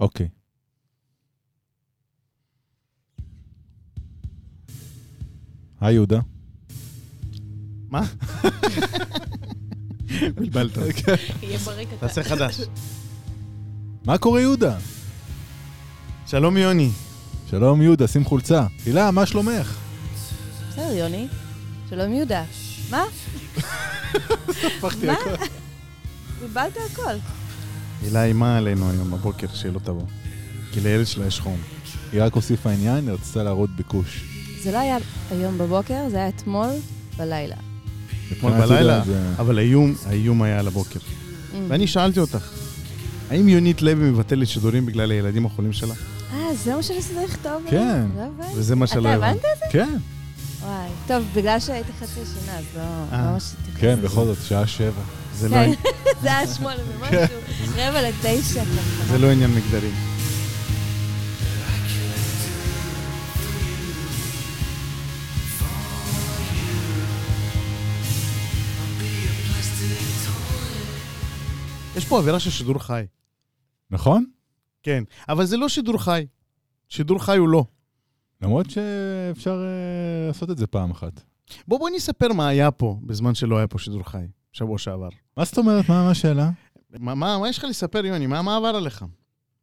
אוקיי. היי יהודה. מה? בלבלת. יהיה ברקע. תעשה חדש. מה קורה יהודה? שלום יוני. שלום יהודה, שים חולצה. הילה, מה שלומך? בסדר, יוני. שלום יהודה. מה? הפכתי מה? בלבלת הכל. אילי, מה עלינו היום בבוקר שלא תבוא? כי לילד שלה יש חום. היא רק הוסיפה עניין, היא רצתה להראות ביקוש. זה לא היה היום בבוקר, זה היה אתמול בלילה. אתמול מבחינת יהודה בלילה, אה, זה- אבל האיום, האיום היה על הבוקר. ואני שאלתי אותך, האם יונית לוי מבטלת שידורים בגלל הילדים החולים שלה? אה, זה מה שניסית לכתוב? לי? כן. לא הבנתי. וזה מה אתה שלא הבנתי. הבנת? כן. וואי. טוב, בגלל שהייתי חצי שנה, אז לא לא ממש התייחסתי. כן, בכל כן. זאת, שעה שבע. זה לא כן. עניין- זה היה שמונה ומשהו, רבע לתשע. זה לא עניין מגדרי. יש פה אווירה של שידור חי. נכון? כן, אבל זה לא שידור חי. שידור חי הוא לא. למרות שאפשר אה, לעשות את זה פעם אחת. בוא בוא נספר מה היה פה בזמן שלא היה פה שידור חי, שבוע שעבר. מה זאת אומרת? מה מה השאלה? מה, מה, מה יש לך לספר, יוני? מה, מה עבר עליך?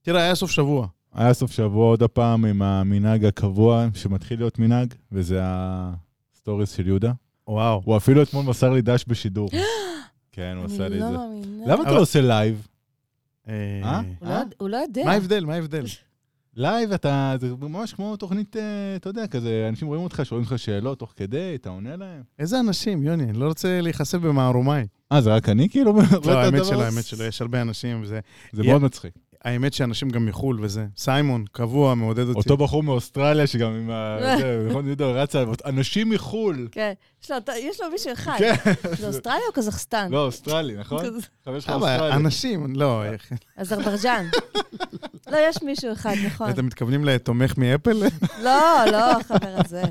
תראה, היה סוף שבוע. היה סוף שבוע עוד הפעם עם המנהג הקבוע שמתחיל להיות מנהג, וזה הסטוריס של יהודה. וואו. הוא אפילו אתמול מסר לי דש בשידור. כן, הוא עשה אני לי לא את זה. מאמינה. למה אתה אבל- לא עושה לייב? אה? הוא לא- הוא לא יודע. מה ההבדל? מה ההבדל? לייב אתה, זה ממש כמו תוכנית, אה, אתה יודע, כזה, אנשים רואים אותך, שואלים לך שאלות תוך כדי, אתה עונה להם. איזה אנשים, יוני? אני לא רוצה להיחשף במערומיי. אה, זה רק אני כאילו? רואה את לא, האמת הדבר שלא, הזה? האמת שלא, יש הרבה אנשים, וזה... זה יא. מאוד מצחיק. האמת שאנשים גם מחו"ל וזה. סיימון, קבוע, מעודד אותי. אותו בחור מאוסטרליה שגם עם ה... זה, נכון, יהודה רצה, אנשים מחו"ל. כן. יש לו- יש לו מישהו אחד. כן. זה אוסטרליה או קזחסטן? לא, אוסטרלי, נכון? כזה. חבר שלך אבל אוסטרלי. אנשים, לא, אה, איך... אזרבייג'אן. לא, יש מישהו אחד, נכון. אתם מתכוונים לתומך מאפל? לא, לא, החבר הזה.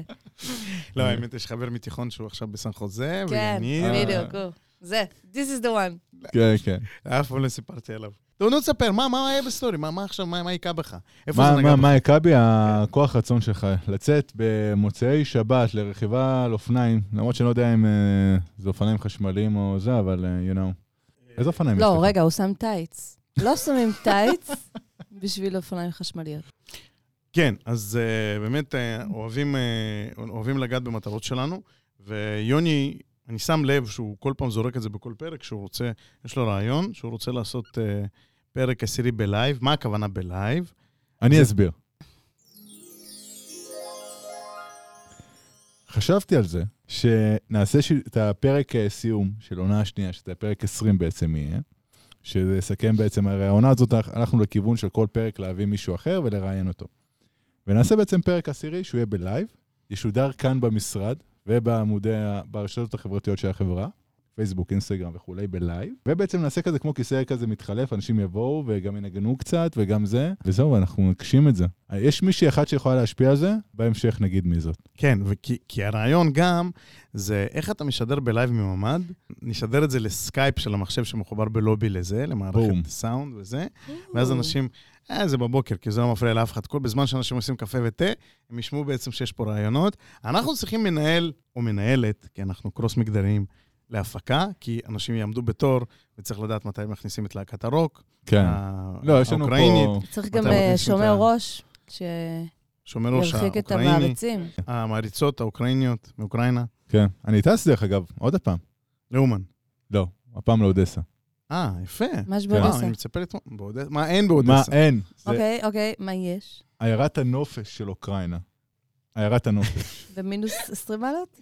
לא, האמת, יש חבר מתיכון שהוא עכשיו בסן חוזה, כן, ויוני, בדיוק, הוא. זה, this is the one. כן, כן. אף פעם לא סיפרתי עליו. טוב, נו, תספר, מה, מה היה בסטורי? מה, מה עכשיו, מה, מה היכה בך? איפה מה, זה נגע מה, בך? מה, קאבי, הכוח רצון שלך לצאת במוצאי שבת לרכיבה על אופניים, למרות שאני לא יודע אם אה, זה אופניים חשמליים או זה, אבל אה, you know. איזה אופניים יש לא, לך? רגע, הוא שם טייץ. לא שמים טייץ בשביל אופניים חשמליות. כן, אז uh, באמת uh, אוהבים, uh, אוהבים לגעת במטרות שלנו, ויוני, אני שם לב שהוא כל פעם זורק את זה בכל פרק, שהוא רוצה, יש לו רעיון, שהוא רוצה לעשות uh, פרק עשירי בלייב. מה הכוונה בלייב? אני אסביר. חשבתי על זה שנעשה ש... את הפרק אה, סיום של עונה השנייה, שזה פרק 20 בעצם יהיה, שזה יסכם בעצם, הרי העונה הזאת הלכנו לכיוון של כל פרק להביא מישהו אחר ולראיין אותו. ונעשה בעצם פרק עשירי שהוא יהיה בלייב, ישודר כאן במשרד ובעמודי, ה- ברשתות החברתיות של החברה, פייסבוק, אינסטגרם וכולי, בלייב, ובעצם נעשה כזה כמו כיסא כזה מתחלף, אנשים יבואו וגם ינגנו קצת וגם זה, וזהו, ואנחנו נגשים את זה. יש מישהי אחת שיכולה להשפיע על זה, בהמשך נגיד מי זאת. כן, וכי, כי הרעיון גם זה איך אתה משדר בלייב מממ"ד, נשדר את זה לסקייפ של המחשב שמחובר בלובי לזה, למערכת בום. סאונד וזה, ואז אנשים, אה, זה בבוקר, כי זה לא מפריע לאף אחד. כל בזמן שאנשים עושים קפה ותה, הם ישמעו בעצם שיש פה רעיונות. אנחנו צריכים מנהל או מנהלת, כי אנחנו קרוס מגדריים, להפקה, כי אנשים יעמדו בתור, וצריך לדעת מתי מכניסים את להקת הרוק. כן. ה- לא, יש לנו אה, האוקראינית, פה... צריך גם מתי אה, מכניסים שומר את ה- ראש שומר ראש שירחיק את האוקראיני, המעריצים. המעריצות האוקראיניות מאוקראינה, כן. אני טס דרך אגב, עוד הפעם. לאומן. לא, הפעם לאודסה. אה, יפה. מה יש וואו, באודסה? אני מצפה לתמוך. באודסה? מה אין מה, באודסה? אין. זה אוקיי, אוקיי, מה יש? עיירת הנופש של אוקראינה. עיירת הנופש. במינוס 20 מעלות?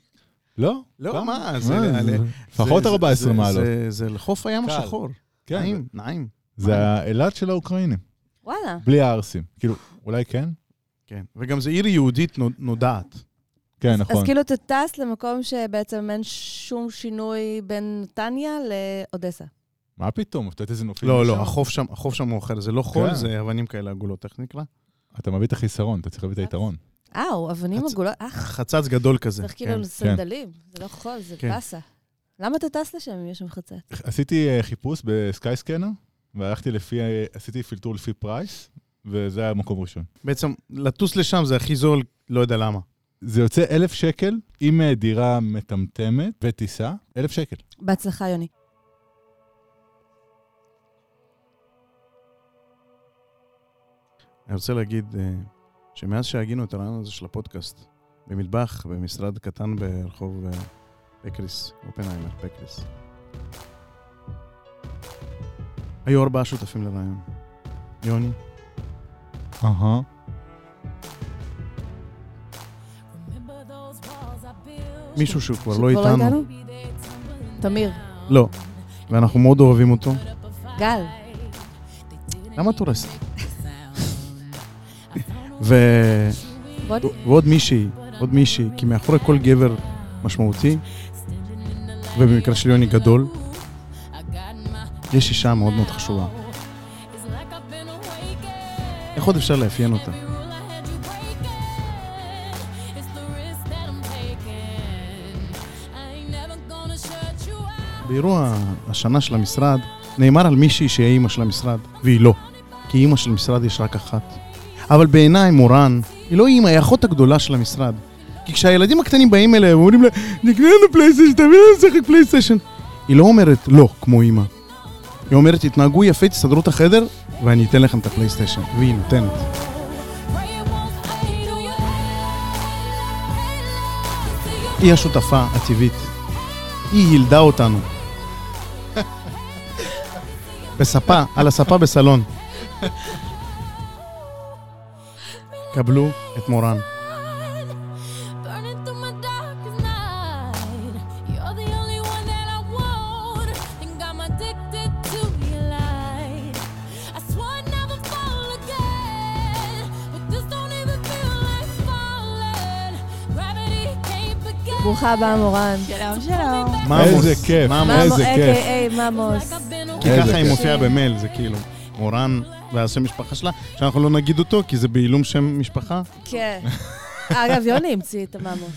לא? לא, כמה? מה? זה- מה, זה- זה- לפחות זה- 14 זה- מעלות. זה- זה לחוף הים קל. השחור. כן, נעים, נעים. זה האילת של האוקראינים. וואלה. בלי הערסים. כאילו, אולי כן? כן, וגם זה עיר יהודית נו- נודעת. כן, אז נכון. כאילו אתה טס למקום שבעצם אין שום שינוי בין נתניה לאודסה. מה פתאום? אתה יודע איזה נופים לא, יש לא, כן, שם? החוף שם, החוף שם הוא אחר, זה לא חול, כן. זה אבנים כאלה עגולות, איך נקרא? אתה מביא את החיסרון, אתה צריך להביא את היתרון. אה, אבנים אז- עגולות, אך. חצץ גדול כזה. צריך כאילו כן. סנדלים, זה לא חול, זה כן. באסה. למה אתה טס לשם אם יש שם חצץ? עשיתי אה, חיפוש בסקייסקנר, והלכתי לפי, אה, עשיתי פילטור לפי פרייס, וזה היה מקום ראשון. בעצם, לטוס לשם זה הכי זול, לא יודע למה. זה יוצא אלף שקל עם אה, דירה מטמטמת וטיסה, אלף שקל. בהצלחה, יוני. אני רוצה להגיד אה, שמאז שהגינו את הרעיון הזה של הפודקאסט, במטבח, במשרד קטן ברחוב אה, פקריס, אופנהיימר, פקריס, היו ארבעה שותפים לרעיון. יוני, אהה. מישהו שהוא כבר לא שכבר איתנו, תמיר, לא. ואנחנו מאוד אוהבים אותו. גל, למה את הורסת? ו... בודי. ועוד מישהי, עוד מישהי, כי מאחורי כל גבר משמעותי, ובמקרה של יוני גדול, יש אישה מאוד מאוד חשובה. איך עוד אפשר לאפיין אותה? באירוע השנה של המשרד, נאמר על מישהי שהיא אימא של המשרד, והיא לא, כי אימא של המשרד יש רק אחת. אבל בעיניי מורן, היא לא אימא, היא האחות הגדולה של המשרד. כי כשהילדים הקטנים באים אליה, הם אומרים לה, נקנה לנו פלייסטיישן, תביא לנו לשחק פלייסטיישן. היא לא אומרת לא, כמו אימא. היא אומרת, תתנהגו יפה, תסדרו את החדר, ואני אתן לכם את הפלייסטיישן. והיא נותנת. היא השותפה הטבעית. היא ילדה אותנו. בספה, על הספה בסלון. קבלו את מורן. ברוכה הבאה, מורן. שלום, שלום. ממוס, איזה כיף, ממוס. איזה כיף. A.K.A. ממוס. כי איזה ככה היא כיף. מופיעה במייל, זה כאילו מורן והשם משפחה שלה, שאנחנו לא נגיד אותו, כי זה בעילום שם משפחה. כן. אגב, יוני המציא את הממוס.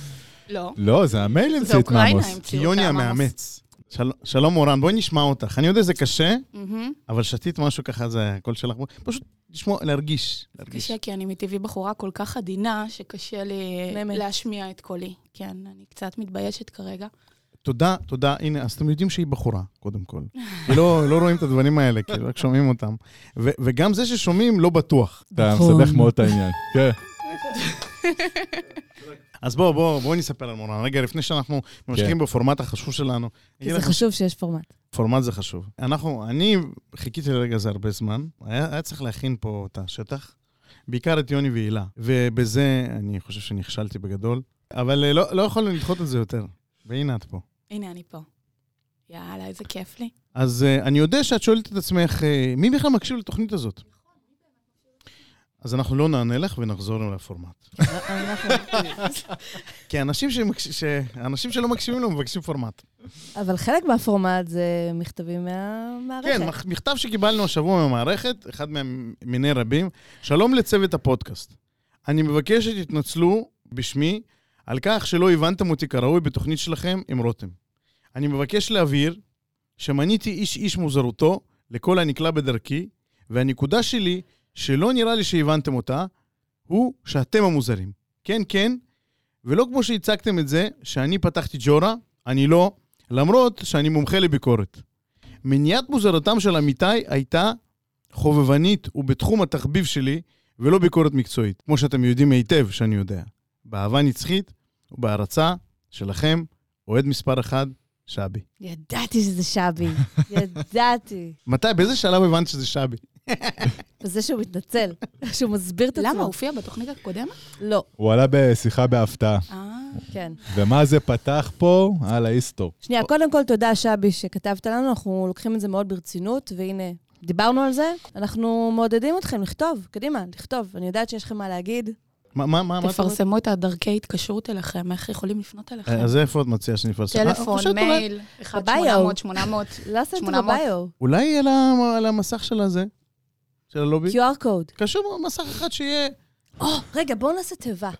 לא. לא, זה המייל זה המציא את אוקראינה ממוס. כי המציאו יוני אותה, ממש. המאמץ. של- שלום מורן, בואי נשמע אותך. אני יודע שזה קשה, מהמם. אבל שתית משהו ככה, זה הקול שלך. פשוט לשמוע, להרגיש. להרגיש. קשה, כי אני מטבעי בחורה כל כך עדינה, שקשה לי נאמת. להשמיע את קולי. כן, אני קצת מתביישת כרגע. תודה, תודה. הנה, אז אתם יודעים שהיא בחורה, קודם כל. היא לא, לא רואים את הדברים האלה, כאילו, רק שומעים אותם. ו- וגם זה ששומעים, לא בטוח. אתה נכון. מסבך מאוד את העניין. כן. אז בואו, בואו, בואו נספר על מורן. רגע, לפני שאנחנו כן. ממשיכים בפורמט החשוב שלנו. כי זה חשוב שיש פורמט. פורמט זה חשוב. אנחנו, אני חיכיתי לרגע הזה הרבה זמן. היה, היה צריך להכין פה את השטח, בעיקר את יוני והילה. ובזה אני חושב שנכשלתי בגדול, אבל אה, לא, לא יכולנו לדחות את זה יותר. והנה את פה. הנה, אני פה. יאללה, איזה כיף לי. אז אה, אני יודע שאת שואלת את עצמך, אה, מי בכלל מקשיב לתוכנית הזאת? אז אנחנו לא נענה לך ונחזור לפורמט. אה, נכון. כי האנשים, שמקש... ש... האנשים שלא מקשיבים לו מבקשים פורמט. אבל חלק מהפורמט זה מכתבים מהמערכת. כן, מח- מכתב שקיבלנו השבוע מהמערכת, אחד מהם מיני רבים. שלום לצוות הפודקאסט. אני מבקש שתתנצלו בשמי על כך שלא הבנתם אותי כראוי בתוכנית שלכם עם רותם. אני מבקש להבהיר שמניתי איש איש מוזרותו לכל הנקלע בדרכי, והנקודה שלי, שלא נראה לי שהבנתם אותה, הוא שאתם המוזרים. כן, כן, ולא כמו שהצגתם את זה, שאני פתחתי ג'ורה, אני לא, למרות שאני מומחה לביקורת. מניעת מוזרתם של עמיתי הייתה חובבנית ובתחום התחביב שלי, ולא ביקורת מקצועית, כמו שאתם יודעים היטב שאני יודע. באהבה נצחית ובהערצה שלכם, אוהד מספר אחד, שבי. ידעתי שזה שבי. ידעתי. מתי? באיזה שלב הבנת שזה שבי? וזה שהוא מתנצל, שהוא מסביר את עצמו. למה, הוא הופיע בתוכנית הקודמת? לא, הוא עלה בשיחה בהפתעה. אה, כן. ומה זה פתח פה? על ההיסטור. שנייה, קודם כל תודה, שבי, שכתבת לנו, אנחנו לוקחים את זה מאוד ברצינות, והנה, דיברנו על זה. אנחנו מעודדים אתכם לכתוב, קדימה, לכתוב. אני יודעת שיש לכם מה להגיד. מה, מה, מה? מה את אומרת? תפרסמו את הדרכי התקשרות אליכם, איך יכולים לפנות אליכם. אה, אז איפה את מציעה שנפרסם? טלפון, אני חושב, אולי- מייל, 1-800-800. בביו. לא עשית את זה 800. בביו. אולי על ה- על המסך של הזה, של הלובי? QR קוד. קשור מסך אחד שיהיה... או, רגע, בואו נעשה תיבה.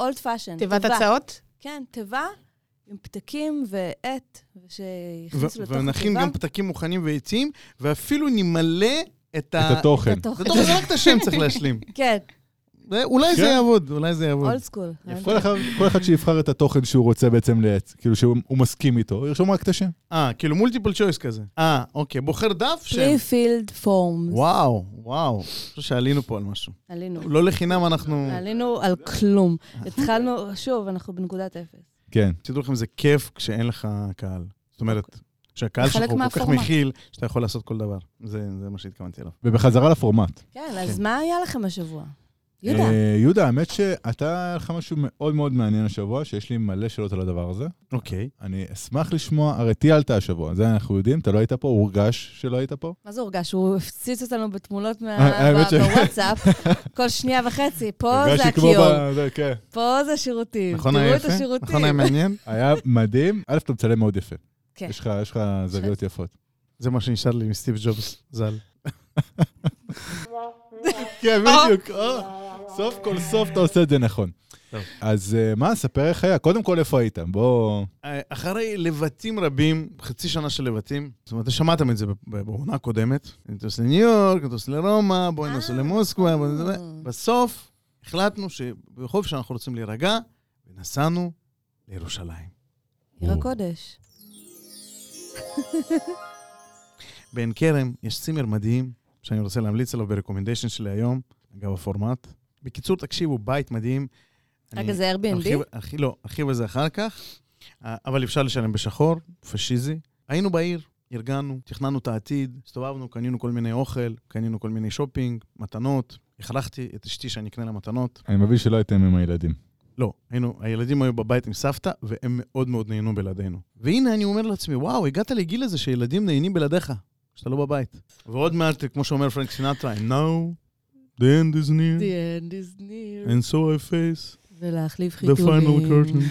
אולד פאשן. תיבת הצעות? כן, תיבה עם פתקים ועט, ושיכניסו ו- לתוך ונכין התיבה. גם פתקים מוכנים ועצים, ואפילו נמלא את אה, את ה... התוכן. את התוכן. זה טוב, זה רק את השם צריך להשלים. כן, זה- אולי זה כן. יעבוד, אולי זה יעבוד. אוקיי. אולד סקול. כל אחד, כל אחד שיבחר את התוכן שהוא רוצה בעצם לייצ... כאילו שהוא הוא מסכים איתו, הוא ירשום רק את השם. אה, כאילו מולטיפל צ'וייס כזה. אה, אוקיי, בוחר דף שם. פרי-פילד פורמס. וואו, וואו. אני חושב שעלינו פה על משהו. עלינו. לא לחינם אנחנו... עלינו על כלום. התחלנו, שוב, אנחנו בנקודת אפס. כן. תדעו לכם, זה כיף כשאין לך קהל. זאת אומרת, שהקהל אוקיי. זה חלק שלך הוא כל כך מהפורמט. מכיל, שאתה יכול לעשות כל דבר. זה זה מה שהתכוונתי אליו. ובחזרה לפורמט. כן, אז מה היה לכם השבוע? יהודה, אה, יהודה, האמת שאתה, היה לך משהו מאוד מאוד מעניין השבוע, שיש לי מלא שאלות על הדבר הזה. אוקיי. אני אשמח לשמוע, הרי טיילת השבוע, זה אנחנו יודעים, אתה לא היית פה, הורגש שלא היית פה. מה זה הורגש? הוא הפציץ אותנו בתמונות מה- אה, האמת ב- ש- בוואטסאפ כל שנייה וחצי. פה זה הרגשתי כמו הכיור, ב- זה, כן. פה זה השירותים. נכון תראו היה את יפה? השירותים. נכון היה מעניין? היה מדהים. א', אתה מצלם מאוד יפה. כן. יש לך- יש לך זוויות יפות. זה מה שנשאר לי מסטיב ג'ובס, ז"ל. כן, בדיוק. אה, סוף כל סוף אתה עושה את זה נכון. טוב. אז אה, מה, ספר איך היה. קודם כל, איפה היית? בוא... אה, אחרי לבטים רבים, חצי שנה של לבטים, זאת אומרת, שמעתם את זה ב- ב- בעונה הקודמת, נטוס לניו יורק, נטוס לרומא, בואי נטוס אה, למוסקבה, בואי אה. נטוס... בסוף החלטנו שבחוב שאנחנו רוצים להירגע, ונסענו לירושלים. עיר הקודש. בעין כרם יש צימר מדהים, שאני רוצה להמליץ עליו ברקומנדיישן שלי היום, אגב הפורמט. בקיצור, תקשיבו, בית מדהים. רגע, אני- זה ארחיב- Airbnb? ארחיב- לא, ארחיב על זה אחר כך, אה, אבל אפשר לשלם בשחור, פשיזי. היינו בעיר, ארגנו, תכננו את העתיד, הסתובבנו, קנינו כל מיני אוכל, קנינו כל מיני שופינג, מתנות. הכרחתי את אשתי שאני אקנה לה מתנות. אני מבין שלא הייתם עם הילדים. לא, היינו, הילדים היו בבית עם סבתא, והם מאוד מאוד נהנו בלעדינו. והנה אני אומר לעצמי, וואו, הגעת לגיל הזה שילדים נהנים בלעדיך, כשאתה לא בבית. ועוד מעט, כמו שאומר פרנק סינטרה, And now, the end is The near, end is near. and so I face ולהחליף אה. the final curtain. חיתולים.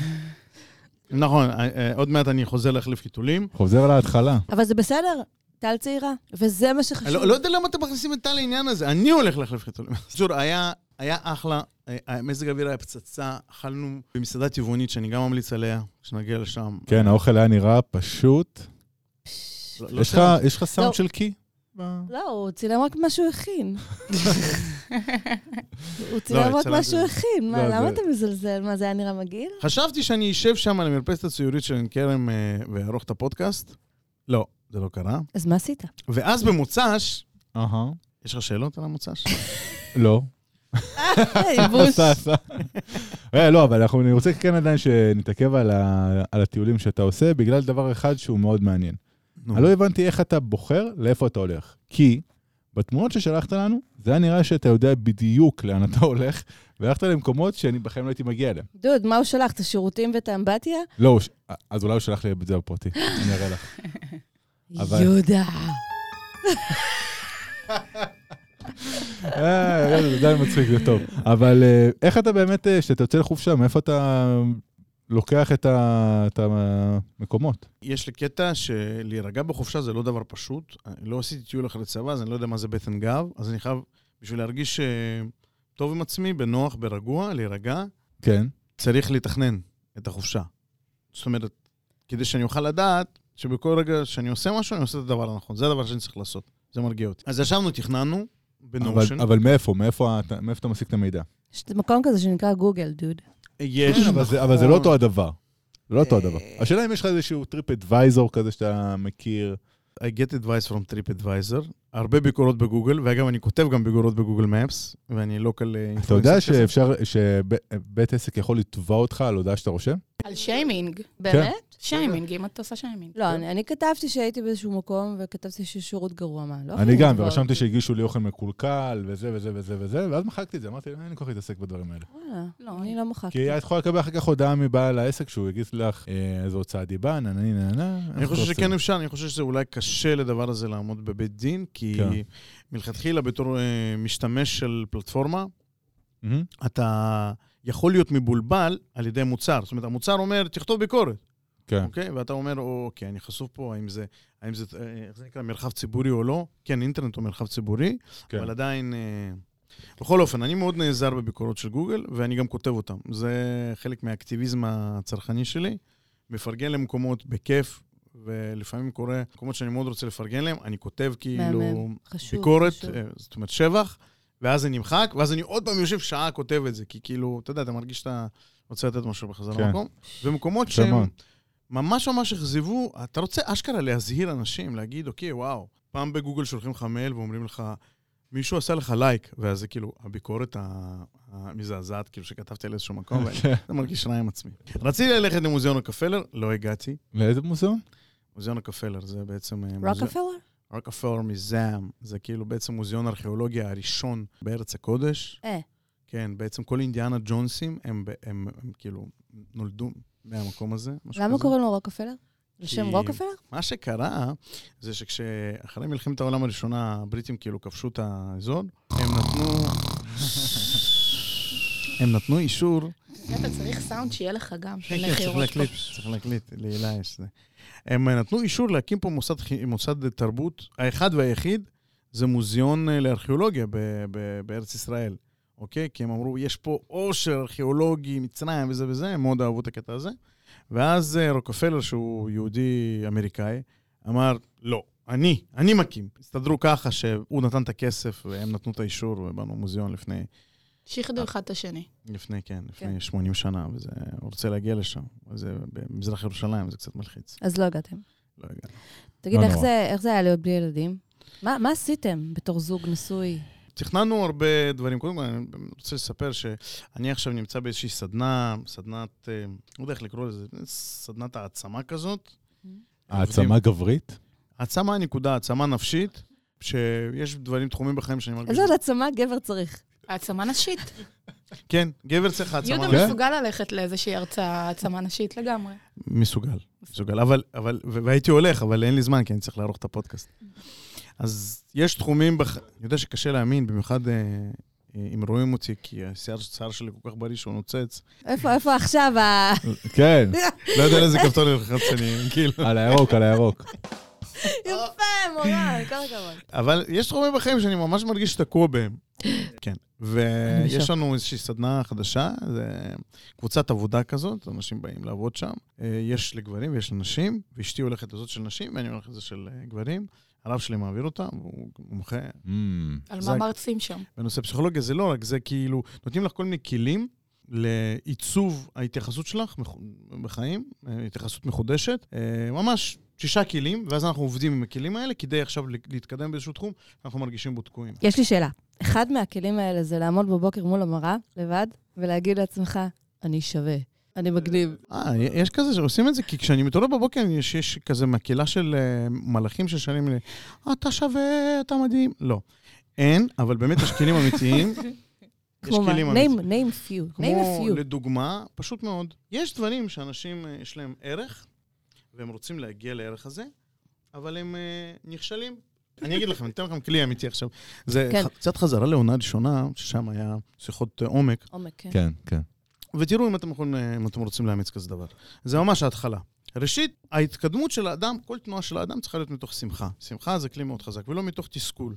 נכון, אה, אה, עוד מעט אני חוזר להחליף חיתולים. חוזר להתחלה. אבל זה בסדר, טל צעירה, וזה מה אני שחשוב. לא, לא יודע למה אתם מכניסים את טל לעניין הזה, אני הולך להחליף חיתולים. בקיצור, היה, היה אחלה, אה, מזג האוויר היה פצצה, אכלנו במסעדה טבעונית שאני גם ממליץ עליה, כשנגיע לשם. כן, האוכל היה נראה פשוט. פש, לא- לא יש לך- שלנו. יש לך סאונד לא. של קי? לא, הוא צילם רק מה שהוא הכין. הוא צילם רק צילמתי. מה שהוא הכין, מה, לא, למה זה- אתה מזלזל? מה, זה היה נראה מגעיל? חשבתי שאני אשב שם על המרפסת הציורית של עין כרם אה, ואערוך את הפודקאסט. לא, זה לא קרה. אז מה עשית? ואז במוצ"ש, אהה. יש לך שאלות על המוצ"ש? לא. ייבוש. עשה, עשה. אה, לא, אבל אנחנו- אני רוצה כן עדיין שנתעכב על ה- על הטיולים שאתה עושה, בגלל דבר אחד שהוא מאוד מעניין. נו. אני לא הבנתי איך אתה בוחר לאיפה אתה הולך. כי בתמונות ששלחת לנו, זה היה נראה שאתה יודע בדיוק לאן אתה הולך, והלכת למקומות שאני בחיים לא הייתי מגיע אליהם. דוד, מה הוא שלח? את השירותים ואת האמבטיה? לא, הוא ש- אז אולי הוא שלח לי את זה בפרטי, אני אראה לך. אבל- יהודה. אה, זה עדיין מצחיק, זה טוב. אבל אה, איך אתה באמת, אה, כשאתה יוצא לחופשה, מאיפה אתה לוקח את ה- את המקומות? יש לי קטע שלהירגע בחופשה זה לא דבר פשוט. אני לא עשיתי טיול אחרי צבא, אז אני לא יודע מה זה בטן גב, אז אני חייב, בשביל להרגיש אה, טוב עם עצמי, בנוח, ברגוע, להירגע, כן. צריך לתכנן את החופשה. זאת אומרת, כדי שאני אוכל לדעת שבכל רגע שאני עושה משהו, אני עושה את הדבר הנכון. זה הדבר שאני צריך לעשות, זה מרגיע אותי. אז ישבנו, תכננו, בנושן. אבל, אבל מאיפה? מאיפה, אתה- מאיפה אתה משיג את המידע? יש מקום כזה שנקרא גוגל, דוד. יש, אבל, זה, אבל זה לא אותו הדבר. זה לא אותו הדבר. השאלה אם יש לך איזשהו טריפ אדוויזור כזה שאתה מכיר. I get advice from TripAdvisor, הרבה ביקורות בגוגל, ואגב, אני כותב גם ביקורות בגוגל מפס, ואני לא כל... אה, אתה יודע influencer כזה. שאפשר, שבית עסק יכול לתבוע אותך על הודעה שאתה רושם? על שיימינג. באמת? כן. שיימינג, אם את עושה שיימינג. לא, אני אני כתבתי שהייתי באיזשהו מקום, וכתבתי ששירות גרוע, מה? לא אני יכולים גם, לתבוע ורשמתי אותי. שהגישו לי אוכל מקולקל, וזה וזה וזה וזה, ואז מחקתי את זה, אמרתי, "אה, אין לי כוח להתעסק בדברים האלה. וואלה, לא, אני לא מחקתי. כי את יכולה לקבל אחר כך הודעה מבעל העסק שהוא יגיד לך אה, איזו הוצאה דיבה, נה נה נה נה. אני חושב שכן אפשר, אני חושב שזה אולי קשה לדבר הזה לעמוד בבית דין, כי כן. מלכתחילה בתור אה, משתמש של פלטפורמה, מהמם. אתה יכול להיות מבולבל על ידי מוצר. זאת אומרת, המוצר אומר, תכתוב ביקורת, כן. אוקיי? ואתה אומר, אוקיי, אני חשוף פה, האם זה, האם זה, אה, איך זה נקרא, מרחב ציבורי או לא? כן, אינטרנט הוא מרחב ציבורי, כן. אבל עדיין... אה, בכל אופן, אני מאוד נעזר בביקורות של גוגל, ואני גם כותב אותן. זה חלק מהאקטיביזם הצרכני שלי. מפרגן למקומות בכיף, ולפעמים קורה, מקומות שאני מאוד רוצה לפרגן להם, אני כותב כאילו מהמם. חשוב, ביקורת, חשוב. אה, זאת אומרת שבח, ואז זה נמחק, ואז אני עוד פעם יושב שעה כותב את זה, כי כאילו, אתה יודע, אתה מרגיש שאתה רוצה לתת משהו בחזרה כן. למקום. ומקומות יפה שהם מאוד. ממש ממש אכזבו, אתה רוצה אשכרה להזהיר אנשים, להגיד, אוקיי, וואו, פעם בגוגל שולחים לך מייל ואומרים לך, מישהו עשה לך לייק, ואז זה כאילו, הביקורת ה- המזעזעת, כאילו, שכתבתי על איזשהו מקום, ואני כן. אני מרגיש רע עם עצמי. רציתי ללכת למוזיאון רוקפלר, לא הגעתי. לאיזה מוזיאון? מוזיאון רוקפלר זה בעצם... אה, מוזיא- רוקפלר? רוקפלר מזעם, זה כאילו בעצם מוזיאון ארכיאולוגיה הראשון בארץ הקודש. אה. כן, בעצם כל אינדיאנה ג'ונסים, הם, ב- הם, הם כאילו נולדו מהמקום הזה. משהו למה כזה. קוראים לו רוקפלר? על שם כי- רוקפלר? מה שקרה זה שכשאחרי מלחמת העולם הראשונה הבריטים כאילו כבשו את האזור, הם נתנו... הם נתנו אישור... אתה צריך סאונד שיהיה לך גם, כן, של כן, צריך נחירות להקליט, פה. צריך להקליט, להילה יש זה. הם אה, נתנו אישור להקים פה מוסד, חי- מוסד תרבות, האחד והיחיד זה מוזיאון אה, לארכיאולוגיה ב- ב- בארץ ישראל, אוקיי? כי הם אמרו, יש פה עושר ארכיאולוגי, מצרים וזה וזה, הם מאוד אהבו את הקטע הזה. ואז אה, רוקפלר, שהוא יהודי אמריקאי, אמר, לא, אני, אני מקים. הסתדרו ככה שהוא נתן את הכסף והם נתנו את האישור ובנו מוזיאון לפני שיחדו אחד את השני. לפני, כן, לפני כן. 80 שנה, וזה, הוא רוצה להגיע לשם. זה במזרח ירושלים, זה קצת מלחיץ. אז לא הגעתם. לא הגענו. תגיד, לא איך נורא. זה- איך זה היה להיות בלי ילדים? מה מה עשיתם בתור זוג נשוי? תכננו הרבה דברים. קודם כל, אני רוצה לספר שאני עכשיו נמצא באיזושהי סדנה, סדנת, אה, לא יודע איך לקרוא לזה, סדנת העצמה כזאת. העצמה גברית? העצמה נקודה, העצמה נפשית, שיש דברים, תחומים בחיים שאני מרגיש... איזה עוד עצמה גבר צריך? העצמה נשית. כן, גבר צריך העצמה יהודה נפשית. מסוגל כן? ללכת לאיזושהי הרצאה העצמה נשית לגמרי. מסוגל, מסוגל. אבל, אבל, ו- והייתי הולך, אבל אין לי זמן, כי אני צריך לערוך את הפודקאסט. אז יש תחומים, בח... אני יודע שקשה להאמין, במיוחד אה, אה, אם רואים אותי, כי השיער שיער שלי כל כך בריא שהוא נוצץ. איפה, איפה עכשיו ה... כן, לא יודע לאיזה כפתור ללחץ אני, כאילו. על הירוק, על הירוק. יפה, אה, מורה, כל הכבוד. אבל יש תחומים בחיים שאני ממש מרגיש שתקוע בהם. כן. אני בשוק. ויש לנו איזושהי סדנה חדשה, זה קבוצת עבודה כזאת, אנשים באים לעבוד שם. אה, יש לגברים ויש לנשים, ואשתי הולכת לזאת של נשים, ואני הולך לזה של אה, גברים. הרב שלי מעביר אותה, הוא מומחה Mm, על זה- מה מרצים שם? בנושא פסיכולוגיה, זה לא רק זה, כאילו, נותנים לך כל מיני כלים לעיצוב ההתייחסות שלך מח- בחיים, אה, התייחסות מחודשת, אה, ממש שישה כלים, ואז אנחנו עובדים עם הכלים האלה כדי עכשיו ל- להתקדם באיזשהו תחום, אנחנו מרגישים בו תקועים. יש לי שאלה. אחד מהכלים האלה זה לעמוד בבוקר מול המראה, לבד, ולהגיד לעצמך, אני שווה, אני מגניב. אה, יש כזה שעושים את זה, כי כשאני מתעורר בבוקר, יש, יש כזה מקהלה של אה, מלאכים ששרים לי, אתה שווה, אתה מדהים. לא. אין, אבל באמת יש כלים אמיתיים. יש כמו מה? כלים name, name few, name a כמו few. לדוגמה, פשוט מאוד, יש דברים שאנשים, אה, יש להם ערך, והם רוצים להגיע לערך הזה, אבל הם אה, נכשלים. אני אגיד לכם, אני אתן לכם כלי אמיתי עכשיו. זה כן. ח- קצת חזרה לעונה ראשונה, ששם היה שיחות אה, עומק, עומק, כן. כן, כן. ותראו אם אתם, יכולים, אה, אם אתם רוצים לאמץ כזה דבר. זה ממש ההתחלה. ראשית, ההתקדמות של האדם, כל תנועה של האדם צריכה להיות מתוך שמחה. שמחה זה כלי מאוד חזק, ולא מתוך תסכול.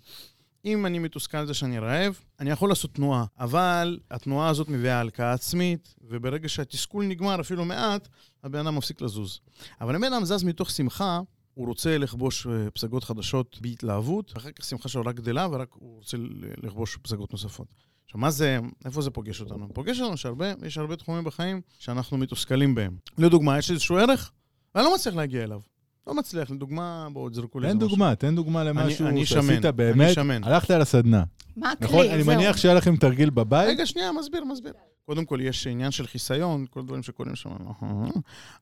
אם אני מתוסכל על זה שאני רעב, אני יכול לעשות תנועה, אבל התנועה הזאת מביאה הלקאה עצמית, וברגע שהתסכול נגמר אפילו מעט, הבן אדם מפסיק לזוז. אבל אם בן אדם זז מתוך שמחה, הוא רוצה לכבוש אה, פסגות חדשות בהתלהבות, ואחר כך שמחה שלו רק גדלה, ורק הוא רוצה ל- לכבוש פסגות נוספות. עכשיו, מה זה, איפה זה פוגש אותנו? פוגש אותנו שהרבה, יש הרבה תחומים בחיים שאנחנו מתוסכלים בהם. לדוגמה, יש איזשהו ערך, ואני לא מצליח להגיע אליו. לא מצליח, לדוגמה, בואו תזרקו לי תן איזה משהו. דוגמה, תן דוגמה למשהו אני שעשית שמן, אני באמת. שמן. הלכת על הסדנה, מה הכלי? נכון? אני זהו. מניח שהיה לכם תרגיל בבית. רגע, שנייה, מסביר, מסביר. קודם כל, יש עניין של חיסיון, כל הדברים שקורים שם. אה,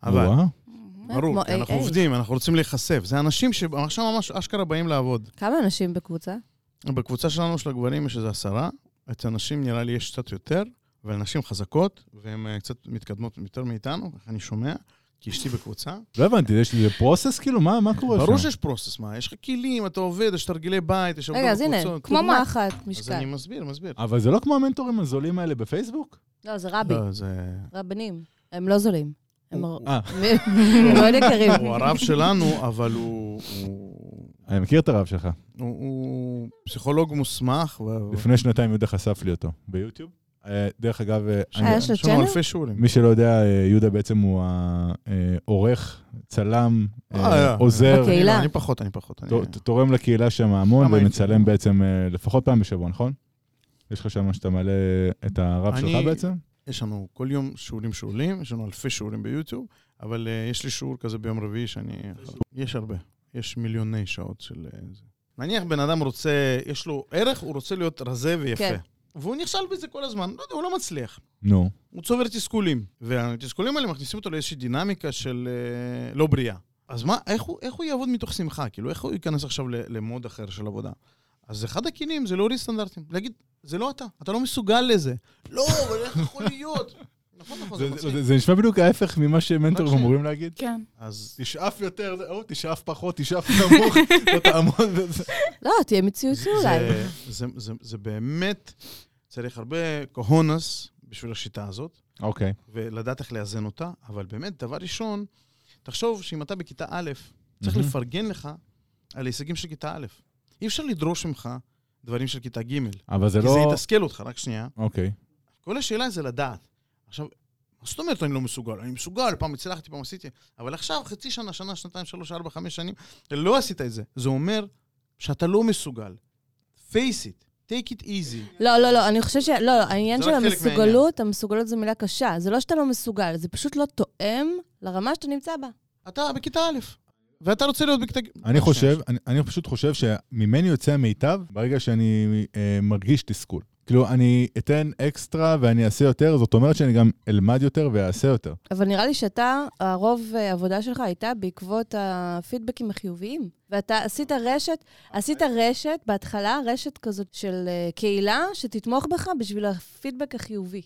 אבל, וואו. ברור, כי כמו אנחנו AA. עובדים, אנחנו רוצים להיחשף. זה אנשים שעכשיו ממש אשכרה באים לעבוד. כמה אנשים בקבוצה? בקבוצה שלנו של הגברים יש איזה עשרה, את הנשים נראה לי יש קצת יותר, אבל נשים חזקות, והן אה, קצת מתקדמות יותר מאיתנו, ככה אני שומע, כי אשתי בקבוצה. לא הבנתי, יש לי פרוסס כאילו? מה מה קורה שם? ברור שיש פרוסס, מה, יש לך כלים, אתה עובד, יש תרגילי בית, יש הרבה רגע, אז הנה, קבוצות. כמו דוגמה מה? אחת, כאילו, אז אני משקל. מסביר, מסביר. אבל זה לא כמו המנטורים הזולים האלה בפייסבוק? לא, זה רבי, לא, זה... רבנים. הם לא זולים. הם הוא- אה, הם מאוד יקרים. הוא הרב שלנו, אבל הוא... הוא- אני מכיר את הרב שלך. הוא- הוא פסיכולוג מוסמך. ו- לפני שנתיים יהודה חשף לי אותו ביוטיוב. אה, דרך אגב, אה, אה, יש לו יש לנו צ'אנל? אלפי שיעורים. מי שלא יודע, אה, יהודה בעצם הוא העורך, צלם, אה, אה, אה. עוזר, אוקיי. קהילה. אני פחות, אני פחות. אני- ת- ת- תורם לקהילה שם המון, כמה הייתי? ומצלם בעצם אה, לפחות פעם בשבוע, נכון? יש לך שם שאתה מעלה את הרב אני- שלך בעצם? יש לנו כל יום שיעורים שיעורים, יש לנו אלפי שיעורים ביוטיוב, אבל אה, יש לי שיעור כזה ביום רביעי שאני... יש הרבה, יש מיליוני שעות של אה, זה. נניח בן אדם רוצה, יש לו ערך, הוא רוצה להיות רזה ויפה. כן. והוא נכשל בזה כל הזמן, לא יודע, הוא לא מצליח. נו, הוא צובר תסכולים, והתסכולים האלה מכניסים אותו לאיזושהי דינמיקה של אה, לא בריאה. אז מה, איך הוא, איך הוא יעבוד מתוך שמחה? כאילו, איך הוא ייכנס עכשיו ל- למוד אחר של עבודה? אז אחד הכלים זה להוריד סטנדרטים. להגיד, זה לא אתה, אתה לא מסוגל לזה. לא, אבל איך יכול להיות? נכון, נכון, זה זה- מצחיק. זה זה נשמע בדיוק ההפך ממה שמנטורים מקשיב. אמורים להגיד. כן. אז תשאף יותר, או תשאף פחות, תשאף נמוך, לא תעמוד בזה. לא, תהיה מציאותי אולי. זה, זה, זה, זה באמת, צריך הרבה קהונס בשביל השיטה הזאת. אוקיי. ולדעת איך לאזן אותה, אבל באמת, דבר ראשון, תחשוב שאם אתה בכיתה א', צריך מהמם. לפרגן לך על הישגים של כיתה א'. אי אפשר לדרוש ממך דברים של כיתה ג', אבל זה כי זה לא... יתסכל אותך, רק שנייה. אוקיי. כל השאלה זה לדעת. עכשיו, מה זאת אומרת אני לא מסוגל? אני מסוגל, פעם הצלחתי, פעם עשיתי, אבל עכשיו, חצי שנה, שנה, שנתיים, שלוש, ארבע, חמש שנים, לא עשית את זה. זה אומר שאתה לא מסוגל. face it, take it easy. לא, לא, לא, אני חושבת ש... לא, לא, העניין זה של רק חלק המסוגלות, המסוגלות זו מילה קשה. זה לא שאתה לא מסוגל, זה פשוט לא תואם לרמה שאתה נמצא בה. אתה בכיתה א', ואתה רוצה להיות בכיתה ג'. אני חושב, אני, אני פשוט חושב שממני יוצא המיטב ברגע שאני אה, מרגיש תסכול. כאילו, אני אתן אקסטרה ואני אעשה יותר, זאת אומרת שאני גם אלמד יותר ואעשה יותר. אבל נראה לי שאתה, הרוב אה, העבודה שלך הייתה בעקבות הפידבקים החיוביים. ואתה עשית רשת, עשית אוקיי. רשת, בהתחלה רשת כזאת של אה, קהילה שתתמוך בך בשביל הפידבק החיובי.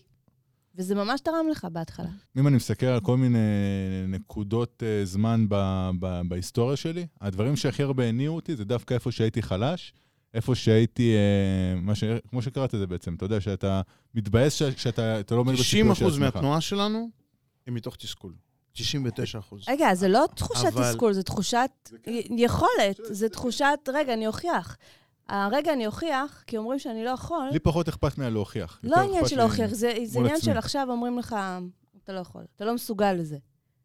וזה ממש תרם לך בהתחלה. אם אני מסתכל על כל מיני נקודות אה, זמן ב, ב, בהיסטוריה שלי, הדברים שהכי הרבה הניעו אותי זה דווקא איפה שהייתי חלש, איפה שהייתי, אה, מה ש... כמו שקראת את זה בעצם, אתה יודע שאתה מתבאס ש, שאתה אתה לא עומד בסיפור של 90% עצמך. מהתנועה שלנו הם מתוך תסכול. 99 אחוז. רגע, זה לא תחושת אבל- תסכול, זה תחושת כן. י- יכולת, זה תחושת, רגע, אני אוכיח. הרגע אני אוכיח, כי אומרים שאני לא יכול, לי פחות אכפת מהלהוכיח. לא יותר עניין אכפת של לי- להוכיח, זה זה מול עניין עצמי. של עכשיו אומרים לך, אתה לא יכול, אתה לא מסוגל לזה.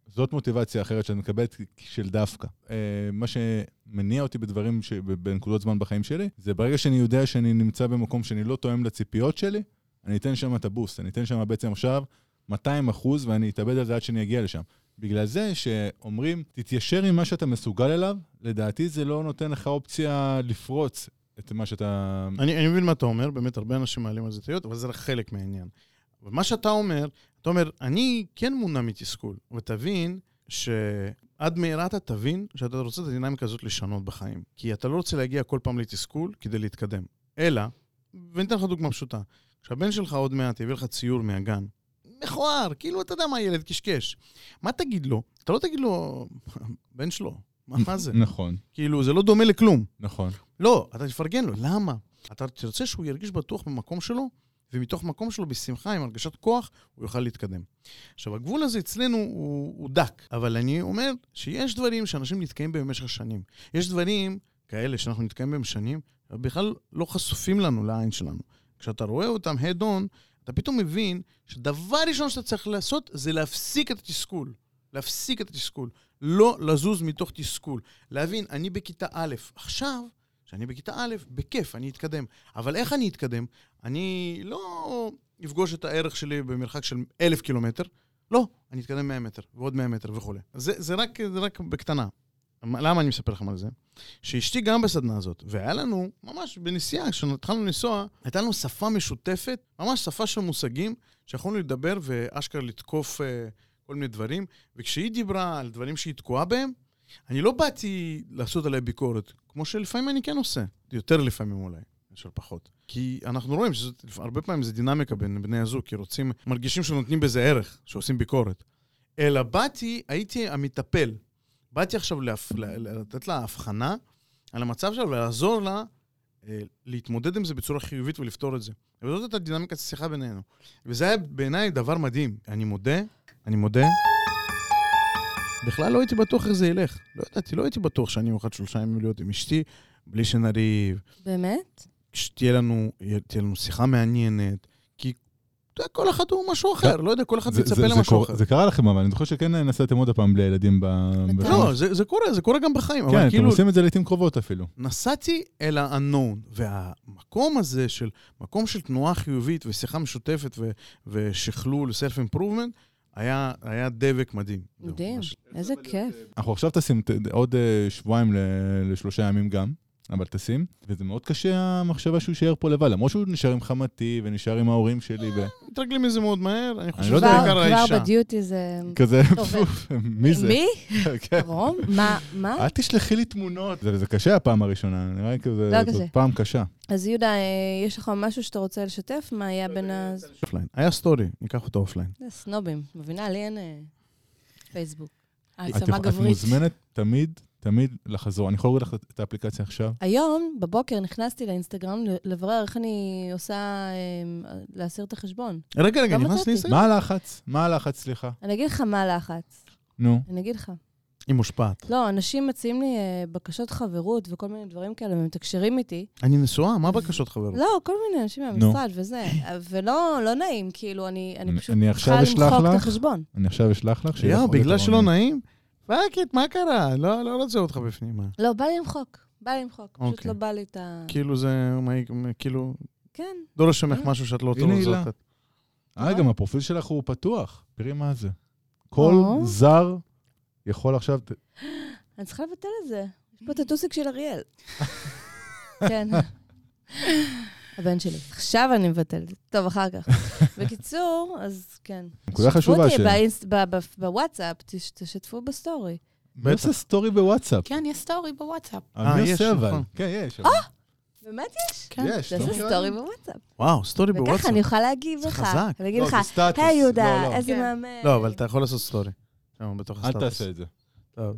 זאת מוטיבציה אחרת שאני מקבלת של דווקא. אה, מה שמניע אותי בדברים, ש... בנקודות זמן בחיים שלי, זה ברגע שאני יודע שאני נמצא במקום שאני לא תואם לציפיות שלי, אני אתן שם את הבוסט, אני אתן שם בעצם עכשיו 200 אחוז, ואני אתאבד על זה עד שאני אגיע לשם. בגלל זה שאומרים, תתיישר עם מה שאתה מסוגל אליו, לדעתי זה לא נותן לך אופציה לפרוץ את מה שאתה... אני, אני מבין מה אתה אומר, באמת הרבה אנשים מעלים על זה טעויות, אבל זה רק חלק מהעניין. אבל מה שאתה אומר, אתה אומר, אני כן מונע מתסכול, ותבין שעד מהרה אתה תבין שאתה רוצה את הדינמיקה הזאת לשנות בחיים. כי אתה לא רוצה להגיע כל פעם לתסכול כדי להתקדם. אלא, ואני אתן לך דוגמה פשוטה, כשהבן שלך עוד מעט יביא לך ציור מהגן, מכוער, כאילו אתה יודע מה ילד קשקש. מה תגיד לו? אתה לא תגיד לו, בן שלו, מה, מה זה? נכון, כאילו, זה לא דומה לכלום. נכון. לא, אתה תפרגן לו, למה? אתה תרצה שהוא ירגיש בטוח במקום שלו, ומתוך מקום שלו בשמחה, עם הרגשת כוח, הוא יוכל להתקדם. עכשיו, הגבול הזה אצלנו הוא, הוא דק, אבל אני אומר שיש דברים שאנשים נתקעים בהם במשך השנים. יש דברים כאלה שאנחנו נתקעים בהם שנים, אבל בכלל לא חשופים לנו, לעין שלנו. כשאתה רואה אותם head on, אתה פתאום מבין שדבר ראשון שאתה צריך לעשות זה להפסיק את התסכול. להפסיק את התסכול. לא לזוז מתוך תסכול. להבין, אני בכיתה א', עכשיו שאני בכיתה א', בכיף, אני אתקדם. אבל איך אני אתקדם? אני לא אפגוש את הערך שלי במרחק של אלף קילומטר, לא, אני אתקדם 100 מטר, ועוד 100 מטר וכולי. זה, זה, רק, זה רק בקטנה. מה- למה אני מספר לכם על זה? שאשתי גם בסדנה הזאת, והיה לנו, ממש בנסיעה, כשהתחלנו לנסוע, הייתה לנו שפה משותפת, ממש שפה של מושגים, שיכולנו לדבר ואשכרה לתקוף אה, כל מיני דברים, וכשהיא דיברה על דברים שהיא תקועה בהם, אני לא באתי לעשות עליה ביקורת, כמו שלפעמים אני כן עושה. יותר לפעמים אולי, מאשר פחות. כי אנחנו רואים שהרבה פעמים זה דינמיקה בין בני הזוג, כי רוצים, מרגישים שנותנים בזה ערך, שעושים ביקורת. אלא באתי, הייתי המטפל. באתי עכשיו להפ... ל- ל- לתת לה הבחנה על המצב שלה ולעזור לה אה, להתמודד עם זה בצורה חיובית ולפתור את זה. וזאת הייתה דינמיקת השיחה בינינו. וזה היה בעיניי דבר מדהים. אני מודה, אני מודה. בכלל לא הייתי בטוח איך זה ילך. לא ידעתי, לא הייתי בטוח שאני אוכל שלושה ימים להיות עם אשתי, בלי שנריב, באמת? שתהיה לנו, תהיה לנו שיחה מעניינת, כי אתה יודע, כל אחד הוא משהו אחר, לא יודע, כל אחד זה- זה- מצפה זה למשהו קורה- אחר. זה קרה לכם, אבל אני זוכר שכן נסעתם עוד פעם לילדים ב... ב- לא, זה זה קורה, זה קורה גם בחיים, כן, אבל אתם כאילו, עושים את זה לעיתים קרובות אפילו. נסעתי אל ה-unknown, והמקום הזה של מקום של תנועה חיובית ושיחה משותפת ו- ושכלול, self-improvement, היה, היה דבק מדהים. זהו, מדהים, ממש. איזה כיף. אנחנו עכשיו טסים ת- עוד אה, שבועיים ל- לשלושה ימים גם, אבל טסים, וזה מאוד קשה המחשבה שהוא יישאר פה לבד, למרות שהוא נשאר עם חמתי ונשאר עם ההורים שלי, מתרגלים לזה מאוד מהר, אני חושב לא כבר שזה יודע. בעיקר כבר האישה. בדיוטי זה... וכזה, אה, טוב, אה, פוף, מי זה? אה. מי? כן. רום? מה? מה? אל תשלחי לי תמונות. זה זה קשה הפעם הראשונה, נראה לי כזה, לא זאת קשה. פעם קשה. אז יהודה, אה, יש לך משהו שאתה רוצה לשתף? מה היה בין ה... אופליין. היה סטורי, ניקח אותו אופליין. זה סנובים, מבינה? לי אין אה, פייסבוק. את העצמה יכולה- את גברית. מוזמנת תמיד, תמיד לחזור. אני יכול להוריד לך את האפליקציה עכשיו? היום, בבוקר, נכנסתי לאינסטגרם ל- לברר איך אני עושה אה, להסיר את החשבון. רגע, רגע, לא נכנס מצאתי. לי זה? מה הלחץ? מה הלחץ, סליחה? אני אגיד לך מה הלחץ. נו. אני אגיד לך. היא מושפעת. לא, אנשים מציעים לי אה, בקשות חברות וכל מיני דברים כאלה, והם מתקשרים איתי. אני נשואה, מה הבקשות, חברות? לא, כל מיני אנשים מהמשרד וזה. ולא לא נעים, כאילו, אני אני אני- פשוט אני עכשיו צריכה אשלח למחוק את לך? החשבון. אני עכשיו אשלח לך. שיהיה לך יואו, עוד בגלל יותר שלא עונג. נעים? פאק איט, מה קרה? לא לא רוצה אותך בפנים. מה? לא, בא לי למחוק. בא לי למחוק. פשוט אוקיי. לא בא לי את ה... כאילו זה, מה- כאילו, כן. דורש ממך משהו שאת לא הנה רוצה הילה. לזאת. אה, גם הפרופיל שלך הוא פתוח. תראי מה זה. כל או. זר יכול עכשיו... ת- אני צריכה לבטל את זה. יש Mm. פה את הטוסיק של אריאל. כן. הבן שלי. עכשיו אני מבטלת. טוב, אחר כך. בקיצור, אז כן. נקודה חשובה אותי ש... באינס- ב- ב- בוואטסאפ, תש- תשתפו בסטורי. מי עושה סטורי בוואטסאפ? כן, יש סטורי בוואטסאפ. אה, אני יש, עושה אבל. נכון. כן, יש. באמת יש? כן. יש, לא תעשה מכירה? סטורי בוואטסאפ. וואו, סטורי וככה בוואטסאפ. אני אוכל להגיב זה לך. חזק. אני אגיד לא, לך, זה סטטוס. היי לא, לא. יהודה, איזה כן. מאמן. לא, אבל אתה יכול לעשות סטורי. שם, בתוך אל הסטטוס. תעשה את זה. טוב.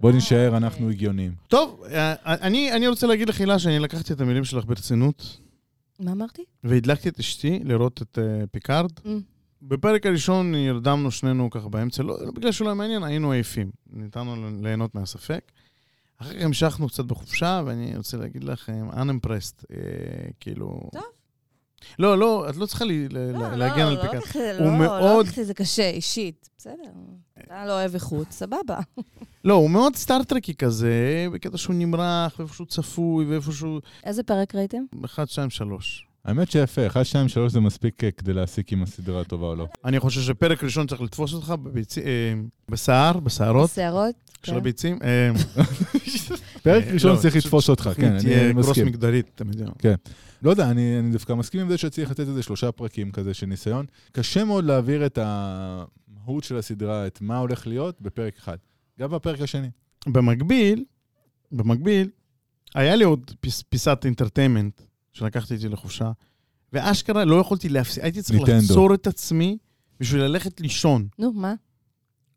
בוא נישאר, אנחנו הגיוניים. טוב, אה, אני אני רוצה להגיד לך, הילה, שאני לקחתי את המילים שלך ברצינות, מה אמרתי? והדלקתי את אשתי לראות את אה, פיקארד. אמ, בפרק הראשון נרדמנו שנינו ככה באמצע, לא לא בגלל שלא היה מעניין, היינו עייפים. ניתנו ליהנות מהספק. אחר כך המשכנו קצת בחופשה, ואני רוצה להגיד לך, I'm unimpressed, אה, כאילו... טוב. לא, לא, את לא צריכה לי- ל- לא, להגן לא, על לא פיקארד. לקחתי את זה- הוא לא, לא מאוד- לקחתי את זה קשה, אישית. בסדר. אתה לא אוהב איכות, סבבה. לא, הוא מאוד סטארטרקי כזה, בקטע שהוא נמרח, ואיפה שהוא צפוי, ואיפה שהוא... איזה פרק ראיתם? 1, 2, 3. האמת שיפה, 1, 2, 3 זה מספיק אה, כדי להסיק אם הסדרה טובה או לא. אני חושב שפרק ראשון צריך לתפוס אותך בביצי, אה, בשיער, בשערות שערות? של הביצים. אה, פרק אה, ראשון לא, צריך פשוט- לתפוס אותך, תוכנית כן, אני תהיה קרוס מסכים. מגדרית, אתה יודע. לא יודע, אני, אני דווקא מסכים עם זה שצריך לתת איזה שלושה פרקים כזה של ניסיון. קשה מאוד להעביר את המהות של הסדרה, את מה הולך להיות, בפרק אחד. גם בפרק השני. במקביל, במקביל, היה לי עוד פיס, פיסת אינטרטיימנט שלקחתי איתי לחופשה, ואשכרה לא יכולתי להפסיק, הייתי צריך ניטנדו. לעצור את עצמי בשביל ללכת לישון. נו, מה?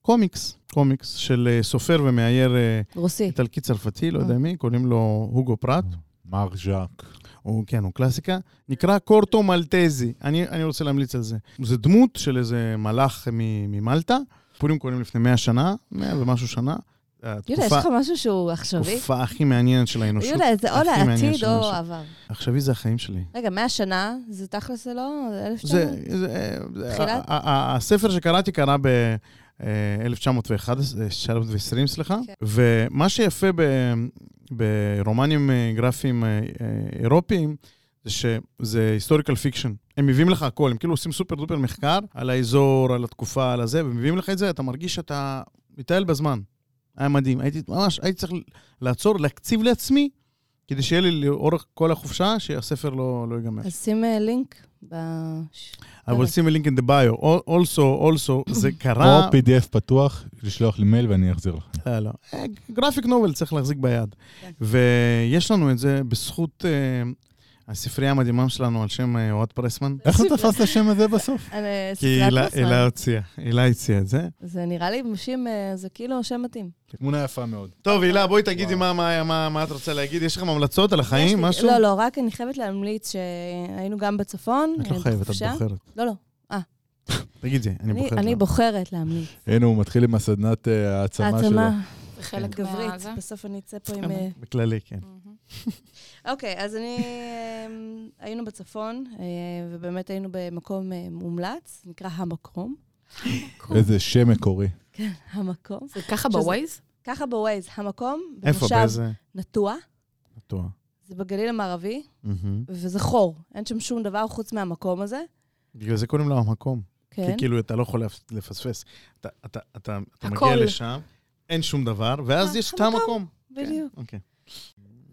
קומיקס, קומיקס של אה, סופר ומאייר אה, רוסי. איטלקי-צרפתי, לא יודע מי, קוראים לו הוגו פרט, מר ז'אק. הוא, כן, הוא קלאסיקה, נקרא קורטו מלטזי, אני, אני רוצה להמליץ על זה. זה דמות של איזה מלאך מ- ממלטה, פורים קוראים לפני 100 שנה, 100 ומשהו שנה. יהודה, יש לך משהו שהוא עכשווי? התקופה הכי מעניינת של האנושות. יהודה, זה או הכי מעניין לעתיד של או האנושות. עבר. עכשווי זה החיים שלי. רגע, 100 שנה, זה תכלס זה לא? זה אלף שנה? זה, זה, זה- תחילת? ה- ה- ה- הספר שקראתי אה, קרה אה, ב-1920, סליחה. כן. ומה שיפה ב- ברומנים אה, גרפיים אה, אה, אירופיים, זה שזה היסטוריקל פיקשן. הם מביאים לך הכל, הם כאילו עושים סופר דופר מחקר על האזור, על התקופה, על הזה, ומביאים לך את זה, אתה מרגיש שאתה מטייל בזמן. היה מדהים, הייתי ממש, הייתי צריך לעצור, להקציב לעצמי, כדי שיהיה לי לאורך כל החופשה, שהספר לא, לא ייגמר. אז שים אה, לינק. בש- I will sim a link in the bio. Al- Also, also, זה קרה... או PDF פתוח, לשלוח לי מייל ואני אחזיר לך. לא, לא. אה, גרפיק נובל צריך להחזיק ביד. כן. ויש לנו את זה בזכות אה, הספרייה המדהימה שלנו על שם אה, אוהד פרסמן. איך לא תפס את השם הזה בסוף? על, אה, כי סדרת הילה- פוסמן. הילה הוציאה, הילה הציעה את זה. זה נראה לי משים, אה, זה כאילו שם מתאים. תמונה יפה מאוד. טוב, הילה, בואי תגידי וואו. מה- מה- מה מה את רוצה להגיד. יש לכם המלצות על יש החיים, לי- משהו? לא, לא, רק אני חייבת להמליץ שהיינו גם בצפון. את לא אה, חייבת, את בחופשה. בוחרת. לא, לא. תגידי, אני אני- בוחרת. אני לך. בוחרת להמליץ. הנה, הוא מתחיל עם הסדנת אה, העצמה שלו. העצמה זה חלק כן, גברית. מהזה. בסוף אני אצא פה עם... אה, בכללי, כן. מהמם. אוקיי, אז אני... אמ, היינו בצפון, אה, ובאמת היינו במקום אה, מומלץ, נקרא המקום. איזה שם מקורי. המקום. זה ככה שזה- בווייז? כן, ככה בווייז, המקום, איפה, במושב באיזה? נטוע, נטוע. זה בגליל המערבי, מהמם. וזה חור, אין שם שום דבר חוץ מהמקום הזה. בגלל זה קוראים לו המקום. כן. כי כאילו אתה לא יכול לפ- לפספס. אתה- אתה- אתה אתה מגיע הכל. לשם, אין שום דבר, ואז אה, יש את המקום. המקום. בדיוק. כן, אוקיי.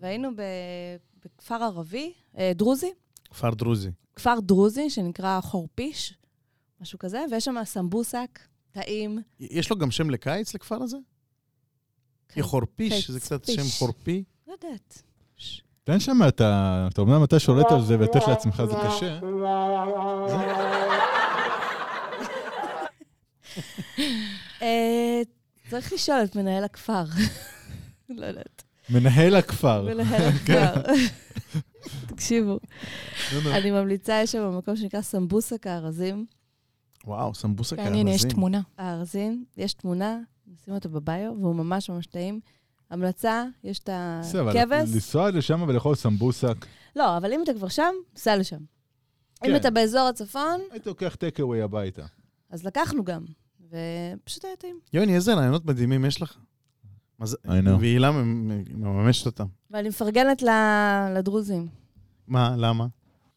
והיינו ב- בכפר ערבי, אה, דרוזי, כפר דרוזי. כפר דרוזי שנקרא חורפיש, משהו כזה, ויש שם סמבוסק, טעים. יש לו גם שם לקיץ לכפר הזה? כן. כי חורפיש, זה קצת שם קיץ. חורפי. לא יודעת. תן שם את ה... אתה אומנם אתה שולט על זה ותן לעצמך זה קשה. אה, צריך לשאול את מנהל הכפר. לא יודעת. מנהל הכפר. מנהל כן. הכפר. תקשיבו, לא, נו, נו. אני ממליצה, יש שם במקום שנקרא סמבוסק הארזים. וואו, סמבוסה כן, מעניין, כן, יש כארזים. תמונה. הארזים, יש תמונה, נשים אותו בביו, והוא ממש ממש טעים. המלצה, יש את בסדר, אבל הכבש. לנסוע לשם ולאכול סמבוסק. לא, אבל אם אתה כבר שם, סע לשם. אם כן. אתה באזור הצפון, הייתי לוקח טקאווי הביתה. אז לקחנו גם, ופשוט היה טעים. יוני, איזה רעיונות מדהימים יש לך. מה זה- I know. והילה ממ- מממשת אותם. ואני מפרגנת ל- לדרוזים. מה, למה?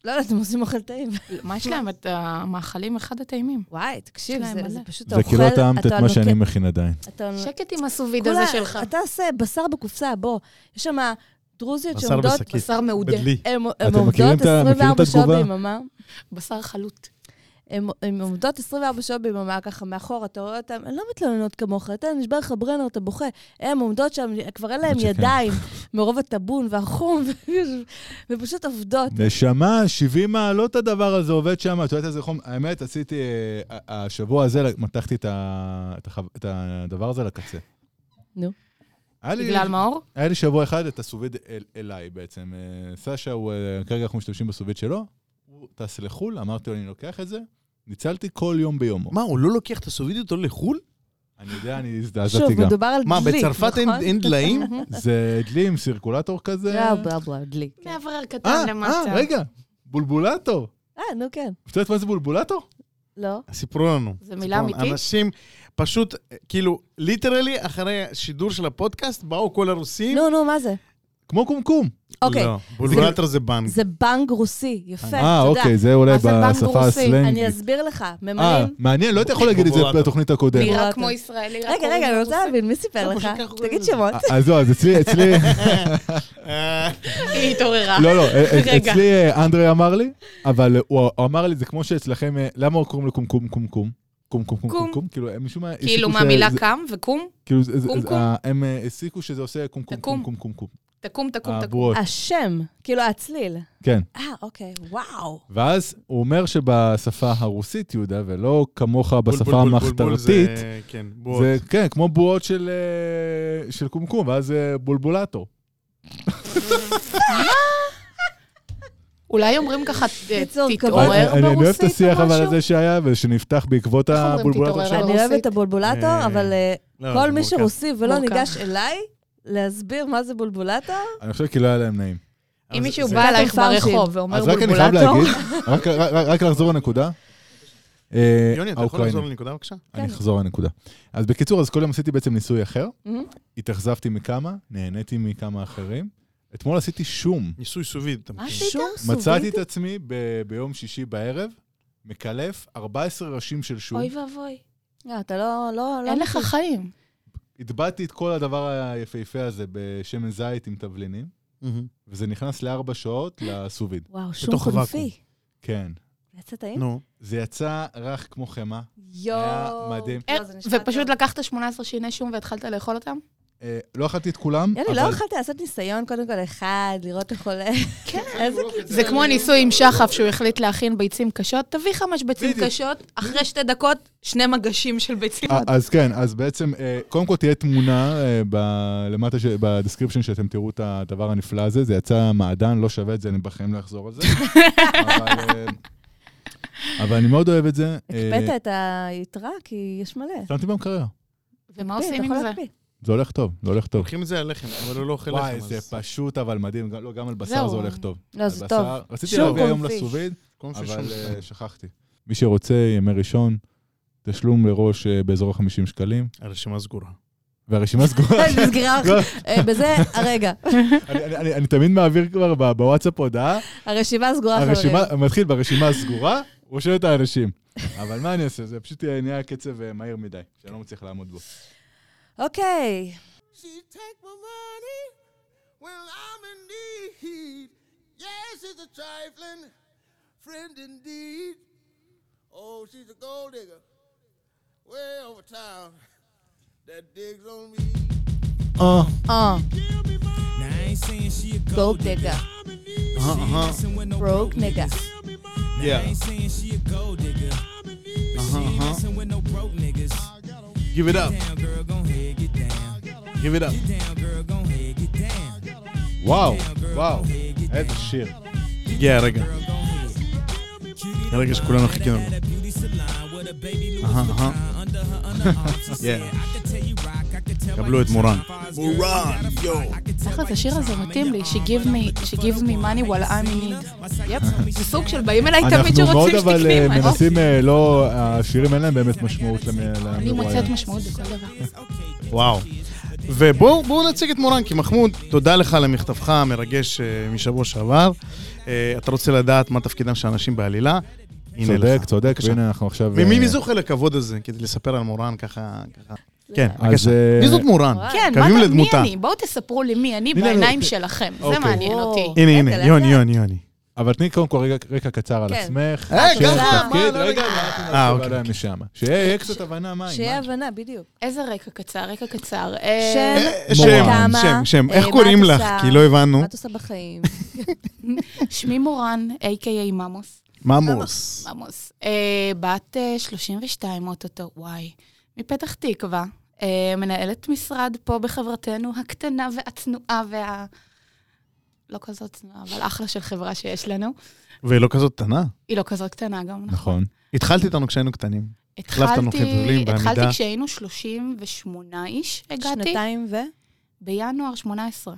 לא יודעת, הם עושים אוכל טעים. מה יש להם? את המאכלים אחד הטעימים. וואי, תקשיב, יש להם זה- מלא. זה פשוט זה האוכל... כי לא טעמת את אתה מה לוקח- שאני מכין עדיין. אתה- שקט עם הסוביד אה, כולה- הזה שלך. אתה עושה בשר בקופסה, בוא. יש שם דרוזיות בשר שעומדות... בשקית. בשר מעודה. בדלי. הן הן אתם עומדות מכירים את ה- מכירים את 24 שעות התגובה? ביממה. בשר חלוט. הן הן עומדות 24 שעות ביממה, ככה מאחור, אתה רואה אותן, הן לא מתלוננות כמוך, אתה נשבר לך ברנר, אתה בוכה. הן עומדות שם, כבר אין להן שכן. ידיים, מרוב הטבון והחום, ופשוט עובדות. נשמה, 70 מעלות הדבר הזה עובד שם, את יודעת איזה חום... האמת, עשיתי... אה, ה- השבוע הזה מתחתי את ה- את החו- את הדבר הזה לקצה. נו. היה לי- בגלל מאור? היה לי שבוע אחד את הסוביד אל, אליי בעצם. אה, סשה, הוא, אה, כרגע אנחנו משתמשים בסוביד שלו, הוא טס לחו"ל, אמרתי לו, אני לוקח את זה, ניצלתי כל יום ביומו. מה, הוא לא לוקח את הסובידיות אותו לחו"ל? אני יודע, אני הזדעזעתי שוב, גם. מדובר על דלי, מה, נכון? בצרפת אין- אין דליים? זה דלי עם סירקולטור כזה. לא, בלה בלה, דלי. כן. מאוורר אה, קטן למטה. אה, רגע, בולבולטור. אה, נו כן. את יודעת מה זה בולבולטור? לא. סיפרו לנו. זו מילה סיפרו לנו. אמיתית? אנשים פשוט, אה, כאילו, ליטרלי, אחרי השידור של הפודקאסט, באו כל הרוסים. נו, נו, מה זה? כמו קומקום. אוקיי. לא, בולבולטור זה בנק. זה בנג רוסי, יפה, אה, תודה. אוקיי, זה אולי מה זה בנק בשפה רוסי? הסלנגית. אני אסביר לך, אה, ממרים... מעניין, לא הייתי יכול להגיד את זה בולבולטור. בתוכנית הקודמת. נראה נראה כמו כמו- ישראלי. רק רגע, קוראים רגע, לו אני רוצה רוסי. להבין, מי סיפר לא, לך? פשוט ככה קוראים תגיד לזה. שמות. אז לא, אז אצלי, אצלי, אה, היא התעוררה. לא, לא, אה, אה, רגע. אצלי אה, אנדרי אמר לי, אבל אה, הוא הוא אמר לי, זה כמו שאצלכם, אה, למה הוא קוראים לו קומקום קומקום? קומקום קום. קומקום, כאילו, הם משום מה... כאילו, הסיקו מהמילה שזה- קם וקום? כאילו, זה- זה- קומקום? אה, הם אה, הסיקו שזה עושה קומקום תקום. קומקום קומקום. תקום, תקום, תקום. אה. הברואות, אוקיי. השם, כאילו הצליל. כן. אה, אוקיי, וואו. ואז הוא אומר שבשפה הרוסית, יהודה, ולא כמוך בשפה בולבול, בולבול, בולבול המחתרתית, זה- כן, בועות. זה כן, כמו בועות של, אה, של קומקום, ואז זה בולבולטור. אולי אומרים ככה, אה, קיצור, תתעורר כבוד. אני- ברוסית או משהו? אני אוהב את השיח אבל הזה שהיה, ושנפתח בעקבות איך אומרים הבולבולטור תתעורר? שם. אני ברוסית. אוהבת את הבולבולטור, אה, אבל אה, לא, זה כל מי מורכב. שרוסי ולא מורכב. ניגש אליי, להסביר מה זה בולבולטור, אני חושב כי לא היה להם נעים. אבל אם זה- מישהו זה- בא אלייך פרשים. ברחוב ואומר אז רק אני חייב בולבולטור, להגיד, רק- רק- רק- רק לחזור לנקודה. אה, יוני, אתה יכול האוקראינים. לחזור לנקודה בבקשה? אני כן. אחזור לנקודה. אז בקיצור, אז כל יום עשיתי בעצם ניסוי אחר. מהמם. התאכזבתי מכמה, נהניתי מכמה אחרים. אתמול עשיתי שום. ניסוי סוביד. אתה מכיר. עשית? שום סוביד? מצאתי את עצמי ב- ביום שישי בערב, מקלף 14 ראשים של שום. אוי ואבוי. אה, אתה לא, לא, לא... אין לך חיים. הטבעתי את כל הדבר היפהפה הזה בשמן זית עם תבלינים, מהמם. וזה נכנס לארבע שעות לסוביד. וואו, שום בתוך הוואקום. חלופי. כן. יצא טעים? נו, זה יצא רך כמו חמאה. יואו. היה מדהים. לא, זה נשמע אה, ופשוט טוב. לקחת 18 שיני שום והתחלת לאכול אותם? אה, לא אכלתי את כולם, יוני, אבל... לא יכולת לעשות ניסיון קודם כל אחד, לראות איך עולה. אה, איזה כיף. זה כמו ניסוי עם שחף שהוא החליט להכין ביצים קשות, תביא חמש ביצים בדיוק. קשות, אחרי שתי דקות, שני מגשים של ביצים. אה, אז כן, אז בעצם, אה, קודם כל תהיה תמונה אה, ב- למטה, ש- בדסקריפשן, שאתם תראו את הדבר הנפלא הזה. זה יצא מעדן, לא שווה את זה, אני בחיים לא אחזור על זה. אבל, אה, אבל אני מאוד אוהב את זה. אה, הקפאת את היתרה, כי יש מלא. שמתי במקרר. ומה כן, אתה עושים עם יכול זה? להקפיא. זה הולך טוב, זה הולך טוב. לוקחים את זה על לחם, אבל הוא לא אוכל לחם. וואי, זה אז פשוט אבל מדהים, גם- לא, גם על בשר זהו. זה הולך טוב. לא, על זה בשר- טוב. רציתי שום להביא היום קונפיש. לסוביד, קום של אבל שום. אה, שכחתי. מי שרוצה, ימי ראשון, תשלום לראש אה, באזור ה-50 שקלים, הרשימה סגורה. והרשימה סגורה. נסגרה לא, אה, בזה, הרגע. אני- אני- אני- אני תמיד מעביר כבר ב- בוואטסאפ הודעה, הרשימה סגורה, חברים. הרשימה, מתחיל ברשימה הסגורה, רושם את האנשים. אבל מה אני אעשה, זה פשוט נהיה קצב אה, מהיר מדי, שאני לא מצליח לעמוד בו. אוקיי. She take my money when I'm in need. Yes, she's a trifling friend indeed. Oh, she's a gold digger way over town that digs on me. אה, אה, Give me money, Now I ain't saying she a גו gold digger. נגע. I'm in need. אה, She ain't messing with no Broke broke nigga. niggas. I yeah. ain't saying she a gold digger. But she ain't Uh-huh. messing with no broke niggas. Give it up, Down, girl, gon' head, get down. give it up. Get down, girl, gon' head, get down. וואו, וואו, איזה שיר. יהיה, רגע. Girl, gon' head. הרגע שכולנו חיכינו לו. At a beauty salon with a baby Louis Uh-huh, uh-huh. Vuitton under her underarm. She said, "I Yeah. could tell you rock, I could tell by קבלו את your מורן. charm. Girl, you Moran, got a fire. I yo. could tell תחת by השיר your הזה charm מתאים and לי, your She arm. give me, she give me money while I'm in need. זה סוג של באים אליי תמיד אנחנו מאוד שרוצים אבל שתקני אה, משהו. מנסים, אה, לא, השירים אין להם באמת משמעות למ- למרואיין. אני מוצאת משמעות בכל דבר. וואו. ובואו בואו נציג את מורן, כי מחמוד, תודה לך על מכתבך המרגש אה, משבוע שעבר. אה, אתה רוצה לדעת מה תפקידם של אנשים בעלילה? הנה צודק, לך. צודק, בבקשה. והנה אנחנו עכשיו... אה, ממי מי זוכה לכבוד הזה, כדי לספר על מורן ככה? ככה. כן, אז, בבקשה. אה, מי זאת מורן? כן, מה קווים אתה- מי לדמותה. אני? בואו תספרו לי מי אני הנה, בעיניים אני- שלכם. זה אוקיי. מעניין אותי. וואו. הנה, לאט, הנה, לאט. יוני, יוני, יוני. אבל תני קודם כל רגע, רקע קצר על כן. עצמך. אה, שם, ככה, תפקיד, מה, לא רגע, יודע. ואנחנו אה, נעבור אוקיי, עליה אוקיי. משם. שיהיה קצת הבנה, אה, מה? שיהיה מה- הבנה, בדיוק. איזה רקע קצר, רקע קצר. אה, שם, שם, מורן. שם, שם. אה, איך מה קוראים את לך? עושה? כי לא הבנו. מה את עושה בחיים? שמי מורן, a.k.a ממוס. ממוס. ממוס. אה, בת אה, 32 אוטוטו, וואי. מפתח תקווה. אה, מנהלת משרד פה בחברתנו הקטנה והצנועה וה... לא כזאת צנועה, אבל אחלה של חברה שיש לנו. והיא לא כזאת קטנה. היא לא כזאת קטנה גם, נכון. נכון. התחלת איתנו כשהיינו קטנים. החלפת לנו חיתולים בעמידה. התחלתי כשהיינו 38 איש, הגעתי. שנתיים ו... בינואר 18.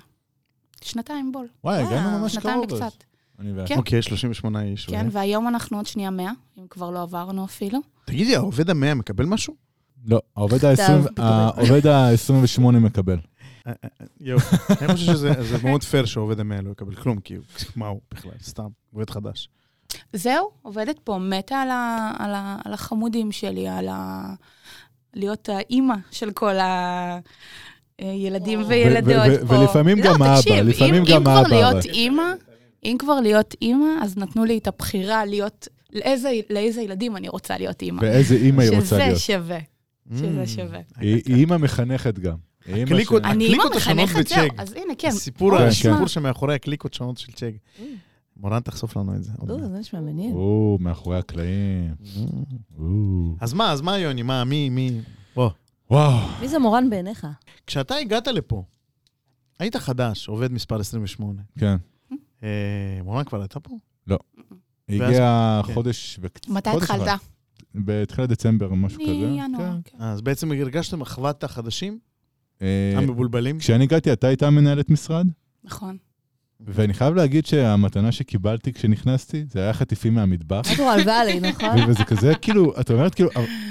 שנתיים בול. וואי, הגענו וואו, ממש שנתיים קרוב. אז. וקצת. אני ואת. כן. אוקיי, 38 איש. כן, והיום אנחנו עוד שנייה 100, אם כבר לא עברנו אפילו. תגידי, העובד המאה מקבל משהו? לא, העובד ה-20 בכתב. העובד ה-28 מקבל. יופי. אני חושב שזה זה מאוד פייר שהעובד המאה לא יקבל כלום, כי הוא- מה הוא בכלל? סתם, עובד חדש. זהו, עובדת פה, מתה על, ה, על, ה, על החמודים שלי, על ה... להיות האימא של כל הילדים וילדות ו- ו- פה. לא, ולפעמים גם האבא, תקשיב, לפעמים אם, גם אם האבא, כבר להיות אבל. אימא, אם כבר להיות אימא, אז נתנו לי את הבחירה להיות, לאיזה, לאיזה ילדים אני רוצה להיות אימא. ואיזה אימא היא רוצה להיות. Mm. שזה שווה, Mm. שזה שווה. אה, היא כן. היא אימא מחנכת גם. היא אימא הקליקות- ש- אני- אני אימא הקליקות השונות מחנכת, זהו, בצ'ק. אז הנה, כן. הסיפור בוא כן, נשמע. הסיפור שמאחורי הקליקות שונות של צ'ג. מורן תחשוף לנו את זה. עוד או, מעט. זה נשמע מעניין. או, מאחורי הקלעים. או. Mm. אז מה, אז מה, יוני? מה, מי, מי? בוא. וואו. מי זה מורן בעיניך? כשאתה הגעת לפה, היית חדש, עובד מספר 28. כן. אה, מורן כבר הייתה פה? היא ואז- הגיעה כן. חודש וקצת. מתי חודש התחלת? אחד. בתחילת דצמבר, משהו כזה. מינואר. כן. כן. אה, אז בעצם הרגשתם אחוות החדשים, אה, המבולבלים? כשאני הגעתי, אתה הייתה מנהלת משרד? נכון. ואני חייב להגיד שהמתנה שקיבלתי כשנכנסתי, זה היה חטיפים מהמטבח. נטורל ואלי, נכון? וזה כזה, כאילו, את אומרת, כאילו,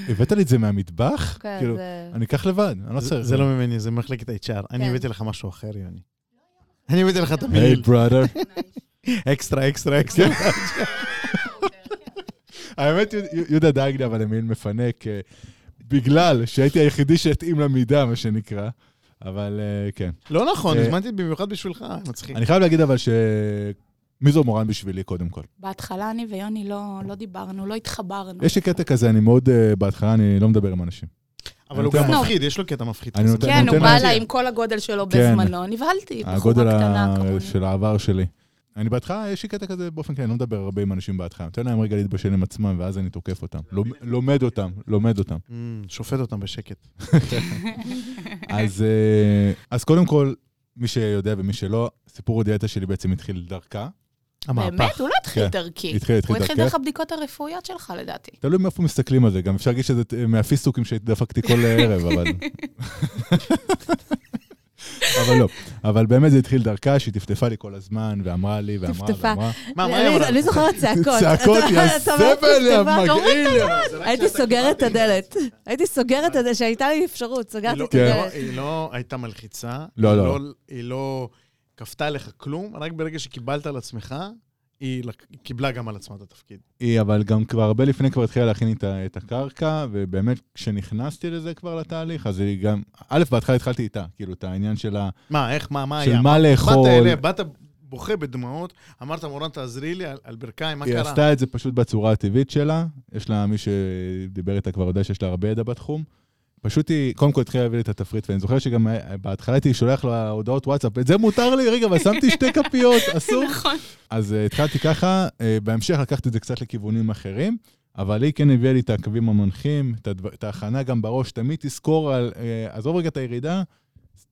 הבאת לי את זה מהמטבח? כן, כאילו, זה- אני אקח לבד, אני לא זה- צריך. זה לא ממני, זה מחלקת HR. אני כן. הבאתי לך משהו אחר, יוני. אני הבאתי לך את היי, המעיל. בראדר. אקסטרה, אקסטרה, אקסטרה. האמת, יהודה- יהודה דאג לי, אבל למעיל מפנק, אה, בגלל שהייתי היחידי שהתאים למידה, מה שנקרא. אבל אה, כן. לא נכון, אה, הזמנתי במיוחד בשבילך, אה, מצחיק. אני חייב להגיד אבל ש... מי זו מורן בשבילי, קודם כל? בהתחלה אני ויוני לא, לא דיברנו, לא התחברנו. יש לי קטע כזה, אני מאוד, אה, בהתחלה אני לא מדבר עם אנשים. אבל הוא אני גם נותן- מפחיד, יש לו קטע מפחיד. אני כזה. נותן- כן, הוא נותן בא לה- אליי עם כל הגודל שלו כן. בזמנו, נבהלתי, בחורה הגודל קטנה ה- כמוני. של העבר שלי. אני בהתחלה, יש לי קטע כזה, באופן כללי, אני לא מדבר הרבה עם אנשים בהתחלה. נותן להם רגע להתבשל עם עצמם, ואז אני תוקף אותם. לומ- לומד אותם, לומד אותם. Mm, שופט אותם בשקט. אז, אה, אז קודם כל, מי שיודע ומי שלא, סיפור הדיאטה שלי בעצם התחיל דרכה. באמת, הוא לא התחיל כן. דרכי. התחיל- התחיל הוא התחיל דרכך. דרך הבדיקות הרפואיות שלך, לדעתי. תלוי מאיפה מסתכלים על זה, גם אפשר להגיד שזה אה, מהפיסטוקים שדפקתי כל ערב, אבל... אבל לא. אבל באמת זה התחיל דרכה, שהיא טפטפה לי כל הזמן, ואמרה לי, ואמרה, טפטפה. ואמרה. מה, מה אה, אני- היא אמרה? אני זוכרת צעקות. צעקות, אתה- יא אתה אומר, זבל, יא "טפטפה". מגעיל. יא- הייתי סוגרת את הדלת. הייתי סוגרת את הדלת, שהייתה לי אפשרות, היא סגרתי לא- את היא לא- הדלת. היא לא הייתה מלחיצה. כן. לא, היא לא. היא לא כפתה לך כלום, רק ברגע שקיבלת על עצמך, היא לק- היא קיבלה גם על עצמה את התפקיד. היא, אבל גם כבר הרבה לפני כבר התחילה להכין את ה- את הקרקע, ובאמת כשנכנסתי לזה כבר לתהליך, אז היא גם... א', בהתחלה התחלתי איתה, כאילו, את העניין של ה- מה, איך, אה, מה, מה של היה? מה באת לאכול. אליה, באת בוכה בדמעות, אמרת, מורן, תעזרי לי על- על ברכיים, מה היא קרה? עשתה את זה פשוט בצורה הטבעית שלה. יש לה, מי שדיבר איתה כבר יודע שיש לה הרבה ידע בתחום. פשוט היא, קודם כל התחילה להביא לי את התפריט, ואני זוכר שגם אה, בהתחלה הייתי שולח לה הודעות וואטסאפ, את זה מותר לי, רגע, אבל שמתי שתי כפיות, אסור. נכון. אז אה, התחלתי ככה, אה, בהמשך לקחתי את זה קצת לכיוונים אחרים, אבל היא כן הביאה לי את הקווים המנחים, את הדבר- את ההכנה גם בראש, תמיד תזכור על, אה, עזוב רגע את הירידה,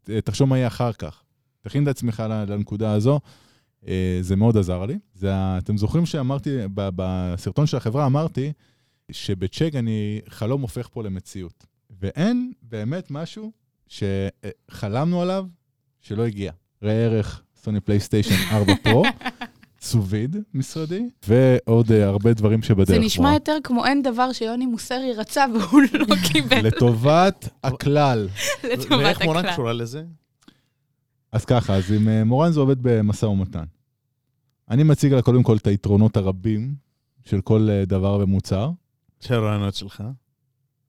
אה, תחשוב מה יהיה אחר כך. תכין את עצמך ל- לנקודה הזו. אה, זה מאוד עזר לי. זה, ה- אתם זוכרים שאמרתי, ב- בסרטון של החברה אמרתי, שבצ'ק אני, חלום הופך פה למציאות. ואין באמת משהו שחלמנו עליו שלא הגיע. ראה ערך, סוני פלייסטיישן 4 פרו, סוביד משרדי, ועוד אה, הרבה דברים שבדרך. זה נשמע וואו. יותר כמו אין דבר שיוני מוסרי רצה והוא לא קיבל לטובת הכלל. לטובת ואיך מורן הכלל. קשורה לזה? אז ככה, אז עם אה, מורן זה עובד במשא ומתן. אני מציג לה קודם כל את היתרונות הרבים של כל אה, דבר ומוצר, של הרעיונות שלך.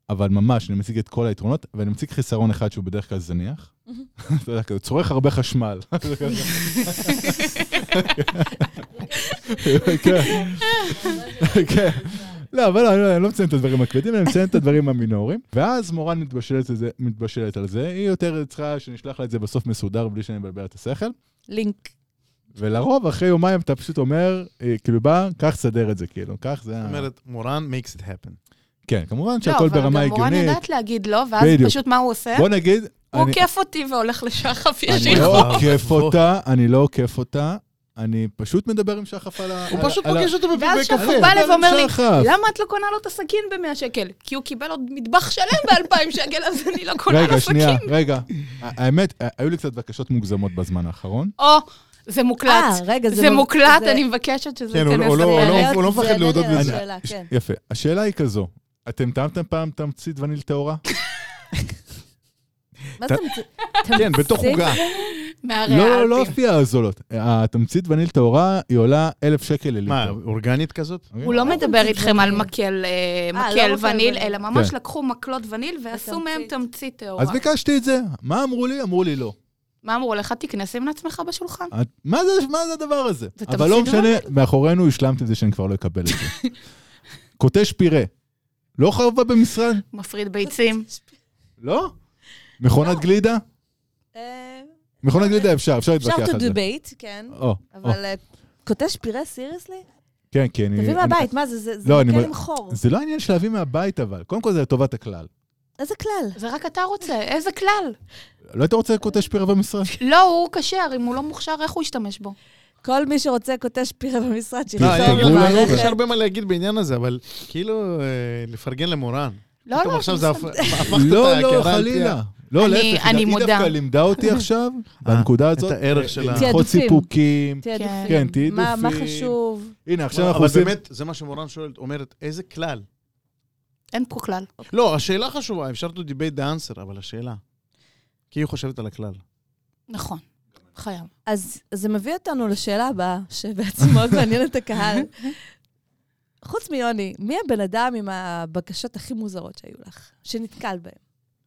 אבל ממש, אני מציג את כל היתרונות, ואני מציג חיסרון אחד שהוא בדרך כלל זניח. אתה יודע, כזה, צורך הרבה חשמל. כן. כן. לא, אבל לא, לא, אני לא מציין את הדברים הכבדים, אני מציין את הדברים המינוריים. ואז מורן מתבשלת על זה- מתבשלת על זה, היא יותר צריכה שנשלח לה את זה בסוף מסודר בלי שאני מבלבל את השכל. לינק. ולרוב, אחרי יומיים אתה פשוט אומר, אה, כאילו, בא, קח, סדר את זה, כאילו, קח, זה... זאת ה- אומרת, מורן makes it happen. כן, כמובן לא, שהכל אבל ברמה גם מורן הגיונית. יודעת להגיד לא, ואז בדיוק. פשוט מה הוא עושה? בוא נגיד... הוא אני- עוקף אותי והולך לשחף אני ישיר. לא אוי, עוקף אוי. אותה, אני לא עוקף אותה, אני פשוט מדבר עם שחף על ה... הוא על ה- פשוט על ה- פוגש אותו ואז בבית שחף קפה. בא אליו ואומר לי, שחף. למה את לא קונה לו את הסכין ב-100 שקל? כי הוא קיבל עוד מטבח שלם ב-2,000 שקל, אז אני לא קונה רגע, לו סכין. שנייה, רגע. ה- האמת, ה- היו לי קצת בקשות מוגזמות בזמן האחרון. או, זה כן. מוקלט. אה, רגע, זה זה מ- מוקלט, זה- אני מבקשת שזה כן, הוא ייכנס לא- הוא לא- לפרק. הוא לא מפחד להודות בזה. שאלה, כן. יפה. השאלה היא כזו, אתם טעמתם פעם תמצית וניל טהורה? מה זה מצ- כן, בתוך תמצית? עוגה. מהרי לא, לא, לא האלפים. לפי הזולות. התמצית וניל טהורה, היא עולה אלף שקל מה, לליטר. אוקיי. אורגנית כזאת? הוא לא מדבר אה, תמצית איתכם על וניל. מקל אה, אה, לא מקל מקל וניל, וניל. אלא ממש כן. לקחו מקלות וניל ועשו ותמצית. מהם תמצית טהורה. אז ביקשתי את זה. מה אמרו לי? אמרו לי לא. מה אמרו לך? תכנס עם עצמך בשולחן. את- מה זה, מה זה הדבר הזה? זה אבל לא תמצית משנה, מאחורינו השלמתי את זה שאני כבר לא אקבל את זה. קוטש פירה, לא חרבה במשרד? מפריד ביצים. לא. לא. מכונת גלידה? אה, מכונת גלידה אפשר, אפשר אפשר להתווכח to על זה. debate, כן. או, אוקיי. או, אבל אה, קוטש פירה, סיריוסלי? כן, כי אני... תביא אני- מהבית, מה זה? זה זה לא, אני מקל מ- עם חור. זה לא עניין של להביא מהבית, אבל. קודם כל זה לטובת הכלל. איזה כלל? זה רק אתה רוצה, איזה כלל. לא היית רוצה קוטש פירה במשרד? לא, הוא כשר, אם הוא לא מוכשר, איך הוא ישתמש בו? כל מי שרוצה קוטש פירה במשרד, לא, שיכתוב תגמרו לנו. יש למערכת. הרבה מה להגיד בעניין הזה, אבל כאילו, אה, לפרגן למורן. לא, פתאום לא, עכשיו זה זה הפ- בסדר. הפכת את לא, ההכרה לא, על פי ה- חלילה. לא, אני- להפך, אני היא מודה. דווקא לימדה אותי עכשיו, בנקודה הזאת. אה, את הערך של ה- ללחוץ תעדופים. סיפוקים. תעדופים. כן, תעדופים. מה- מה חשוב? הנה, עכשיו לא, אנחנו אבל עושים... באמת, זה מה שמורן שואלת, אומרת, איזה כלל? אין פה כלל. לא, השאלה חשובה, אפשר to debate the answer, אבל השאלה. כי היא חושבת על הכלל. נכון, חייב. אז זה מביא אותנו לשאלה הבאה, שבעצם מאוד מעניין את הקהל. חוץ מיוני, מי הבן אדם עם הבקשות הכי מוזרות שהיו לך, שנתקל בהן?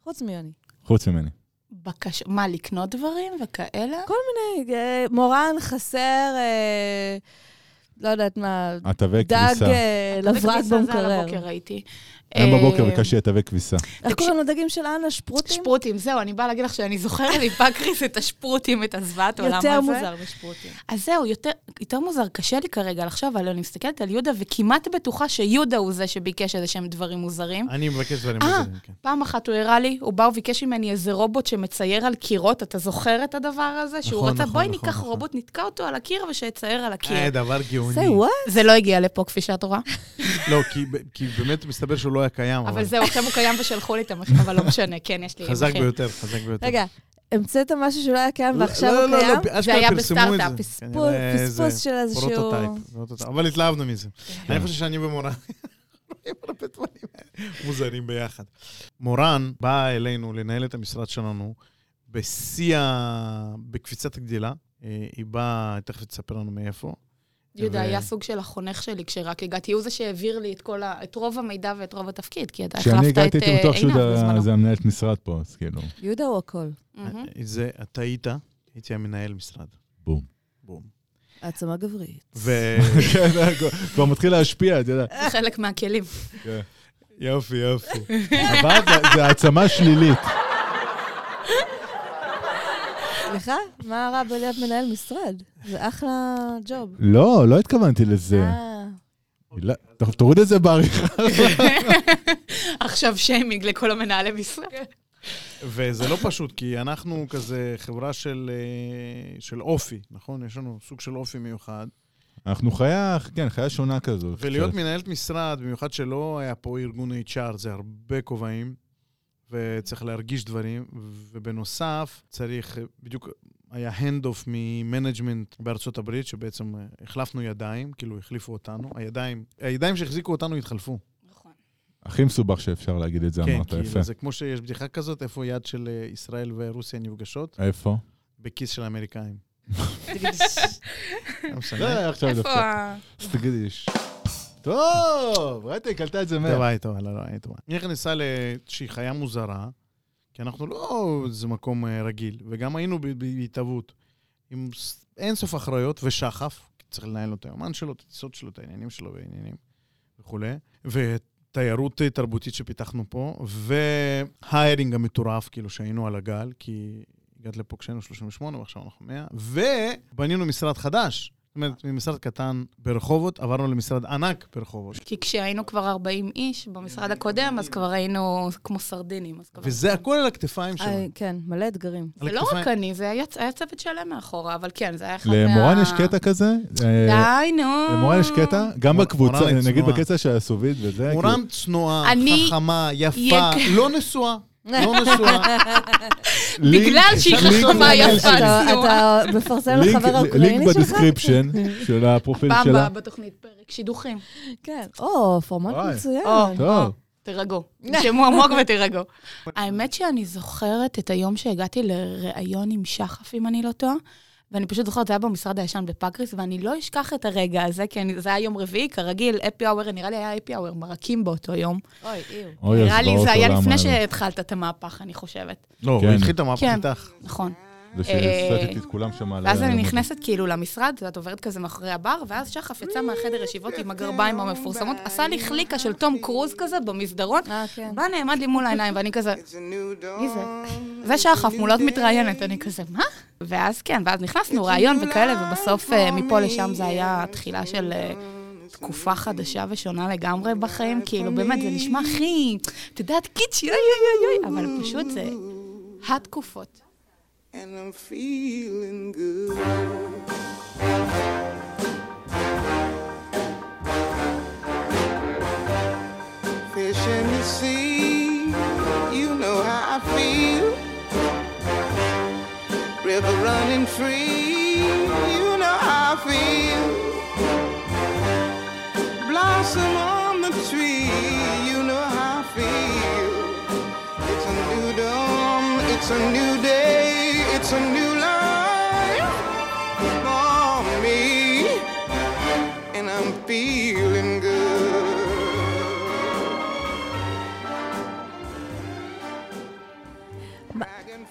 חוץ מיוני. חוץ ממני. בקש... מה, לקנות דברים וכאלה? אה, מורן חסר אה, לא יודעת מה, התווי דג כביסה. אה, לברק בכניסה זה על במקרר. הבוקר ראיתי. היום בבוקר אה, ביקשתי תווי כביסה. איך תקשיב- קוראים לדגים של אנה? שפרוטים? שפרוטים, זהו, אני באה להגיד לך שאני זוכרת לי בקריס את השפרוטים, את הזוועת העולם הזה. יותר מוזר משפרוטים. אז זהו, יותר, יותר מוזר, קשה לי כרגע לחשוב, אבל אני מסתכלת על יהודה וכמעט בטוחה שיהודה הוא זה שביקש איזה שהם דברים מוזרים. אני מבקש דברים אה, מוזרים, כן. פעם אחת הוא הראה לי, הוא בא וביקש ממני איזה רובוט שמצייר על קירות, אתה זוכר את הדבר הזה? שהוא נכון, רצה, נכון, בואי נכון, ניקח נכון. רובוט, נתקע אותו על הקיר ושיצייר על אה, הקיר. דבר גאוני. say what? זה לא הגיע לפה, כפי שאת רואה. לא, כי ב- כי באמת מסתבר שהוא לא היה קיים, אבל אבל זהו, עכשיו הוא קיים ושלחו לי את המשחק, אבל לא משנה, כן, יש לי... חזק מחיר. ביותר, חזק ביותר. רגע, המצאת משהו שלא היה קיים לא, ועכשיו לא, הוא לא, לא, קיים? אשכרה זה היה פרסמו את בסטארט-אפ, זה. פספוס- פול, כנראה פספוס זה של איזשהו... פרוטוטייפ, פרוטוטייפ. אבל התלהבנו מזה. אני חושב שאני ומורן רואים הרבה דברים מוזרים ביחד. מורן באה אלינו לנהל את המשרד שלנו בשיא ה... בקפיצת הגדילה. אה, היא באה, תכף תספר לנו מאיפה. יהודה ו- היה סוג של החונך שלי כשרק הגעתי, הוא זה שהעביר לי את כל ה... את רוב המידע ואת רוב התפקיד, כי אתה כשאני החלפת את הגעתי הייתי אה, בטוח עינב בזמנו. שהוא זה המנהלת משרד פה, אז כאילו, יהודה הוא הכל. מהמם. אה, זה, אתה היית, הייתי המנהל משרד. בום. בום. העצמה גברית. ו... כן, זה היה כבר- כבר מתחיל להשפיע, אתה יודע. זה חלק מהכלים. יופי, יופי. הבעת זה- זה העצמה שלילית. סליחה? מה רע בלהיות מנהל משרד? זה אחלה ג'וב. לא, לא התכוונתי לזה. אה, לא, טוב, תוריד את זה בעריכה. עכשיו שיימינג לכל המנהלי משרד. וזה לא פשוט, כי אנחנו כזה חברה של, אה, של אופי, נכון? יש לנו סוג של אופי מיוחד. אנחנו חיה, כן, חיה שונה כזו. ולהיות קצת. מנהלת משרד, במיוחד שלא היה פה ארגון HR, זה הרבה כובעים, וצריך להרגיש דברים, ובנוסף, צריך, אה, בדיוק היה hand-off ממנג'מנט בארצות הברית, שבעצם אה, החלפנו ידיים, כאילו החליפו אותנו, הידיים, הידיים שהחזיקו אותנו התחלפו. הכי מסובך שאפשר להגיד את זה, כן, אמרת, יפה. כאילו, זה כמו שיש בדיחה כזאת, איפה יד של אה, ישראל ורוסיה נפגשות? איפה? בכיס של האמריקאים. לא לא, משנה. עכשיו אה, איפה דווקא. ה... אז תגיד איש. טוב, ראיתי, קלטה את זה מהר. טובה, היא טובה, לא, לא, היא טובה. היא נכנסה לאיזושהי חיה מוזרה, כי אנחנו לא איזה מקום אה, רגיל, וגם היינו ב- ב- בהתהוות, עם ס- אינסוף אחריות ושחף, כי צריך לנהל לו את היומן שלו, את הטיסות שלו, את העניינים שלו ועניינים וכולי, ותיירות אה, תרבותית שפיתחנו פה, והיירינג המטורף, כאילו, שהיינו על הגל, כי הגעת לפה כשהיינו 38 ועכשיו אנחנו 100, ובנינו משרד חדש. זאת אומרת, ממשרד קטן ברחובות, עברנו למשרד ענק ברחובות. כי כשהיינו כבר 40 איש במשרד הקודם, אז כבר היינו כמו סרדינים. אז כבר- וזה הכל על הכתפיים שלו. אה, כן, מלא אתגרים. על זה לא הכתפיים. רק אני, זה היה היה צוות שלם מאחורה, אבל כן, זה היה אחד מה... למורן יש קטע כזה? אה, די, נו. למורן יש קטע? גם מורן בקבוצה, היא נגיד צנועה. בקטע של הסוביד אה, וזה. כאילו- מורם צנועה, אני- חכמה, יפה, יהיה כ- לא נשואה. לא נשואה. לינק- בגלל שהיא לינק- חכמה, לינק- יפה, אתה- צנועה. כן, אתה מפרסם לינק- לחבר האוקראיני לינק שלך? בדיסקריפשן של הפרופיל פעם שלה. ב- בתוכנית פרק שידוכים. כן. או, פורמט וואי. מצוין. או, טוב. תירגעו. תשמו עמוק ותירגעו. האמת שאני זוכרת את היום שהגעתי לראיון עם שחף, אם אני לא טועה, ואני פשוט זוכרת, זה היה במשרד הישן בפקריס, ואני לא אשכח את הרגע הזה, כי אני- זה היה יום רביעי, כרגיל, אפי אאואר, נראה לי היה אפי אאואר, מרקים באותו יום. אוי, איו. אוי, נראה לי הזוועות זה היה עולם לפני האלה. שהתחלת את המהפך, אני חושבת. לא, הוא כן. התחיל את המהפך כן. איתך. נכון. זה שהסטתי את כולם שם על... ואז ה- אני נכנסת כאילו למשרד, ואת עוברת כזה מאחורי הבר, ואז שחף יצא מהחדר ישיבות עם הגרביים המפורסמות, עשה לי חליקה של תום קרוז כזה במסדרון, אה, כן. בא נעמד לי מול העיניים, ואני כזה, It's a new dawn. מי זה? זה שחף, מולות מתראיינת, אני כזה, מה? ואז כן, ואז נכנסנו, ראיון וכאלה, ובסוף אה, מפה לשם זה היה התחילה של אה, תקופה חדשה ושונה לגמרי בחיים, כאילו, באמת, זה נשמע הכי, את יודעת, קיצ'י, אוי אוי אוי אוי, אבל פשוט זה התקופות. And I'm feeling good. Fish in the sea, you know how I feel. River running free, you know how I feel. Blossom on the tree, you know how I feel. It's a new dawn, it's a new day, it's a new life for me, and I'm feeling good.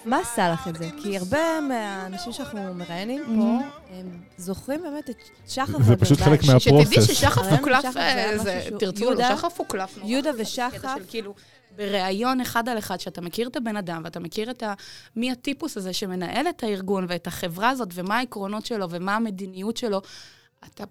מה עשה לך את זה? כי הרבה מהאנשים שאנחנו מראיינים פה, הם זוכרים באמת את שחף זה הגלבש. פשוט חלק מה- שתדעי הפרוסס. ששחף הרעיון הוקלף, של כן, שחף זה היה אה, זה, משהו- תרצו לו, יהודה- שחף הוקלף נורא. יהודה חזק, ושחף- בקטע של כאילו, בריאיון אחד על אחד, שאתה מכיר את הבן אדם, ואתה מכיר את ה... מי הטיפוס הזה שמנהל את הארגון, ואת החברה הזאת, ומה העקרונות שלו, ומה המדיניות שלו, אתה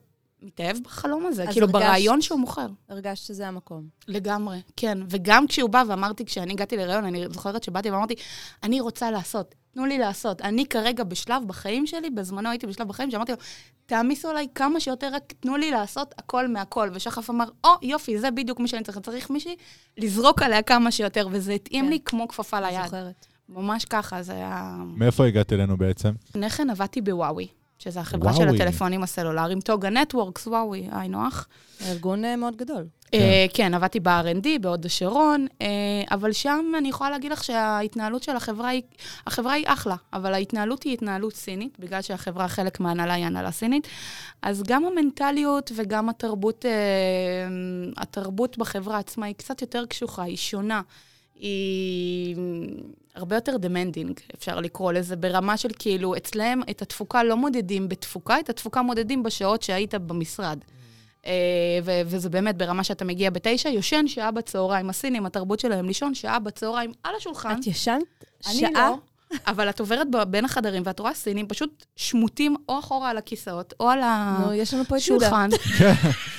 מתאהב בחלום הזה, אז כאילו, הרגשת- ברעיון שהוא מוכר. הרגשת שזה המקום. לגמרי, כן. וגם כשהוא בא ואמרתי, כשאני הגעתי לראיון, אני זוכרת שבאתי ואמרתי, אני רוצה לעשות, תנו לי לעשות. אני כרגע בשלב בחיים שלי, בזמנו הייתי בשלב בחיים, שאמרתי לו, תעמיסו עליי כמה שיותר, רק תנו לי לעשות הכל מהכל. ושחף אמר, או, יופי, זה בדיוק מי שאני צריך. צריך מישהי לזרוק עליה כמה שיותר, וזה התאים כן. לי כמו כפפה אני ליד. זוכרת. ממש ככה, זה היה... מאיפה הגעת אלינו בעצם? לפני כן עבדתי בוואוי, שזה החברה של וואוי. הטלפונים הסלולריים, טוגה נטוורקס, וואוי, היינו הך. ארגון אה, מאוד גדול. אה, כן, עבדתי ב-R&D, בהוד השרון, אה, אבל שם אני יכולה להגיד לך שההתנהלות של החברה היא, החברה היא אחלה, אבל ההתנהלות היא התנהלות סינית, בגלל שהחברה, חלק מההנהלה היא הנהלה סינית. אז גם המנטליות וגם התרבות, אה, התרבות בחברה עצמה היא קצת יותר קשוחה, היא שונה. היא הרבה יותר demanding, אפשר לקרוא לזה, ברמה של כאילו, אצלהם את התפוקה לא מודדים בתפוקה, את התפוקה מודדים בשעות שהיית במשרד. אה, ו- וזה באמת ברמה שאתה מגיע בתשע, יושן שעה בצהריים. הסינים, התרבות שלהם לישון שעה בצהריים על השולחן. את ישנת אה? אני שעה? לא, אבל את עוברת ב- בין החדרים ואת רואה סינים פשוט שמוטים או אחורה על הכיסאות, או על נו, אה. יש לנו פה את יהודה. השולחן.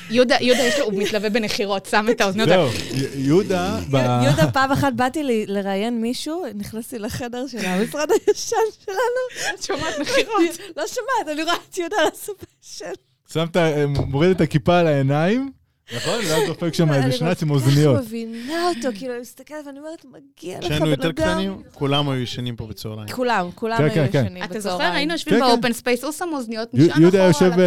יהודה, יהודה, יש לו, הוא מתלווה בנחירות, שם את האוזניות. זהו, י- יהודה, ב- יהודה, פעם אחת באתי ל- לראיין מישהו, נכנסתי לחדר של המשרד הישן שלנו. את שומעת נחירות. לא שומעת, אני רואה את יהודה על הספה של... שם את ה... אה, מוריד את הכיפה על העיניים, נכון? ואז דופק שם איזה שנץ עם אני אוזניות. כל כך מבינה אותו, כאילו, אני מסתכלת ואני אומרת, מגיע לך, כשהיינו יותר בן אדם. קטנים, כולם היו ישנים פה בצהריים. כולם, כולם כן, היו כן, כן. ישנים בצהריים. אתה זוכר? היינו יושבים כן, כן. באופן ספייס, הוא שם אוזניות, י- נשען אחורה יהודה היה על יושב, הכיסא.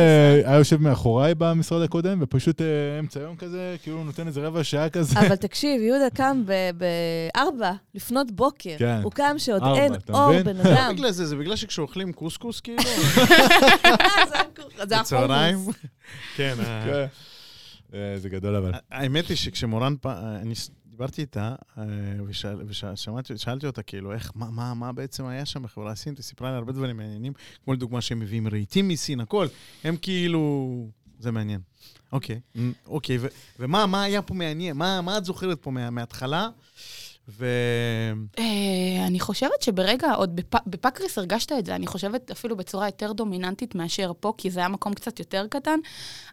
אה, היה יושב מאחוריי במשרד הקודם, ופשוט אה, אמצע יום כזה, כאילו נותן איזה רבע שעה כזה. אבל תקשיב, יהודה קם ב-4 לפנות בוקר. כן. הוא קם שעוד ארבע, אין אתה אור, מבין? בן לא אדם. בגלל זה, זה בגלל שכשאוכלים קוסקוס, כאילו, זה בצהריים. החומוס. כן, ה- כן. אה, זה גדול אבל. האמת היא שכשמורן, פ- אה, אני ס- דיברתי איתה, אה, ושאל- ושאלתי שאלתי אותה, כאילו, איך, מה- מה מה בעצם היה שם בחברה הסינית, היא סיפרה לי הרבה דברים מעניינים, כמו לדוגמה שהם מביאים רהיטים מסין, הכל, הם כאילו, זה מעניין. אוקיי, מ, אוקיי, ו- ומה מה היה פה מעניין? מה מה את זוכרת פה מה- מההתחלה? ו... אה, אני חושבת שברגע, עוד בפ- בפקריס הרגשת את זה, אני חושבת אפילו בצורה יותר דומיננטית מאשר פה, כי זה היה מקום קצת יותר קטן,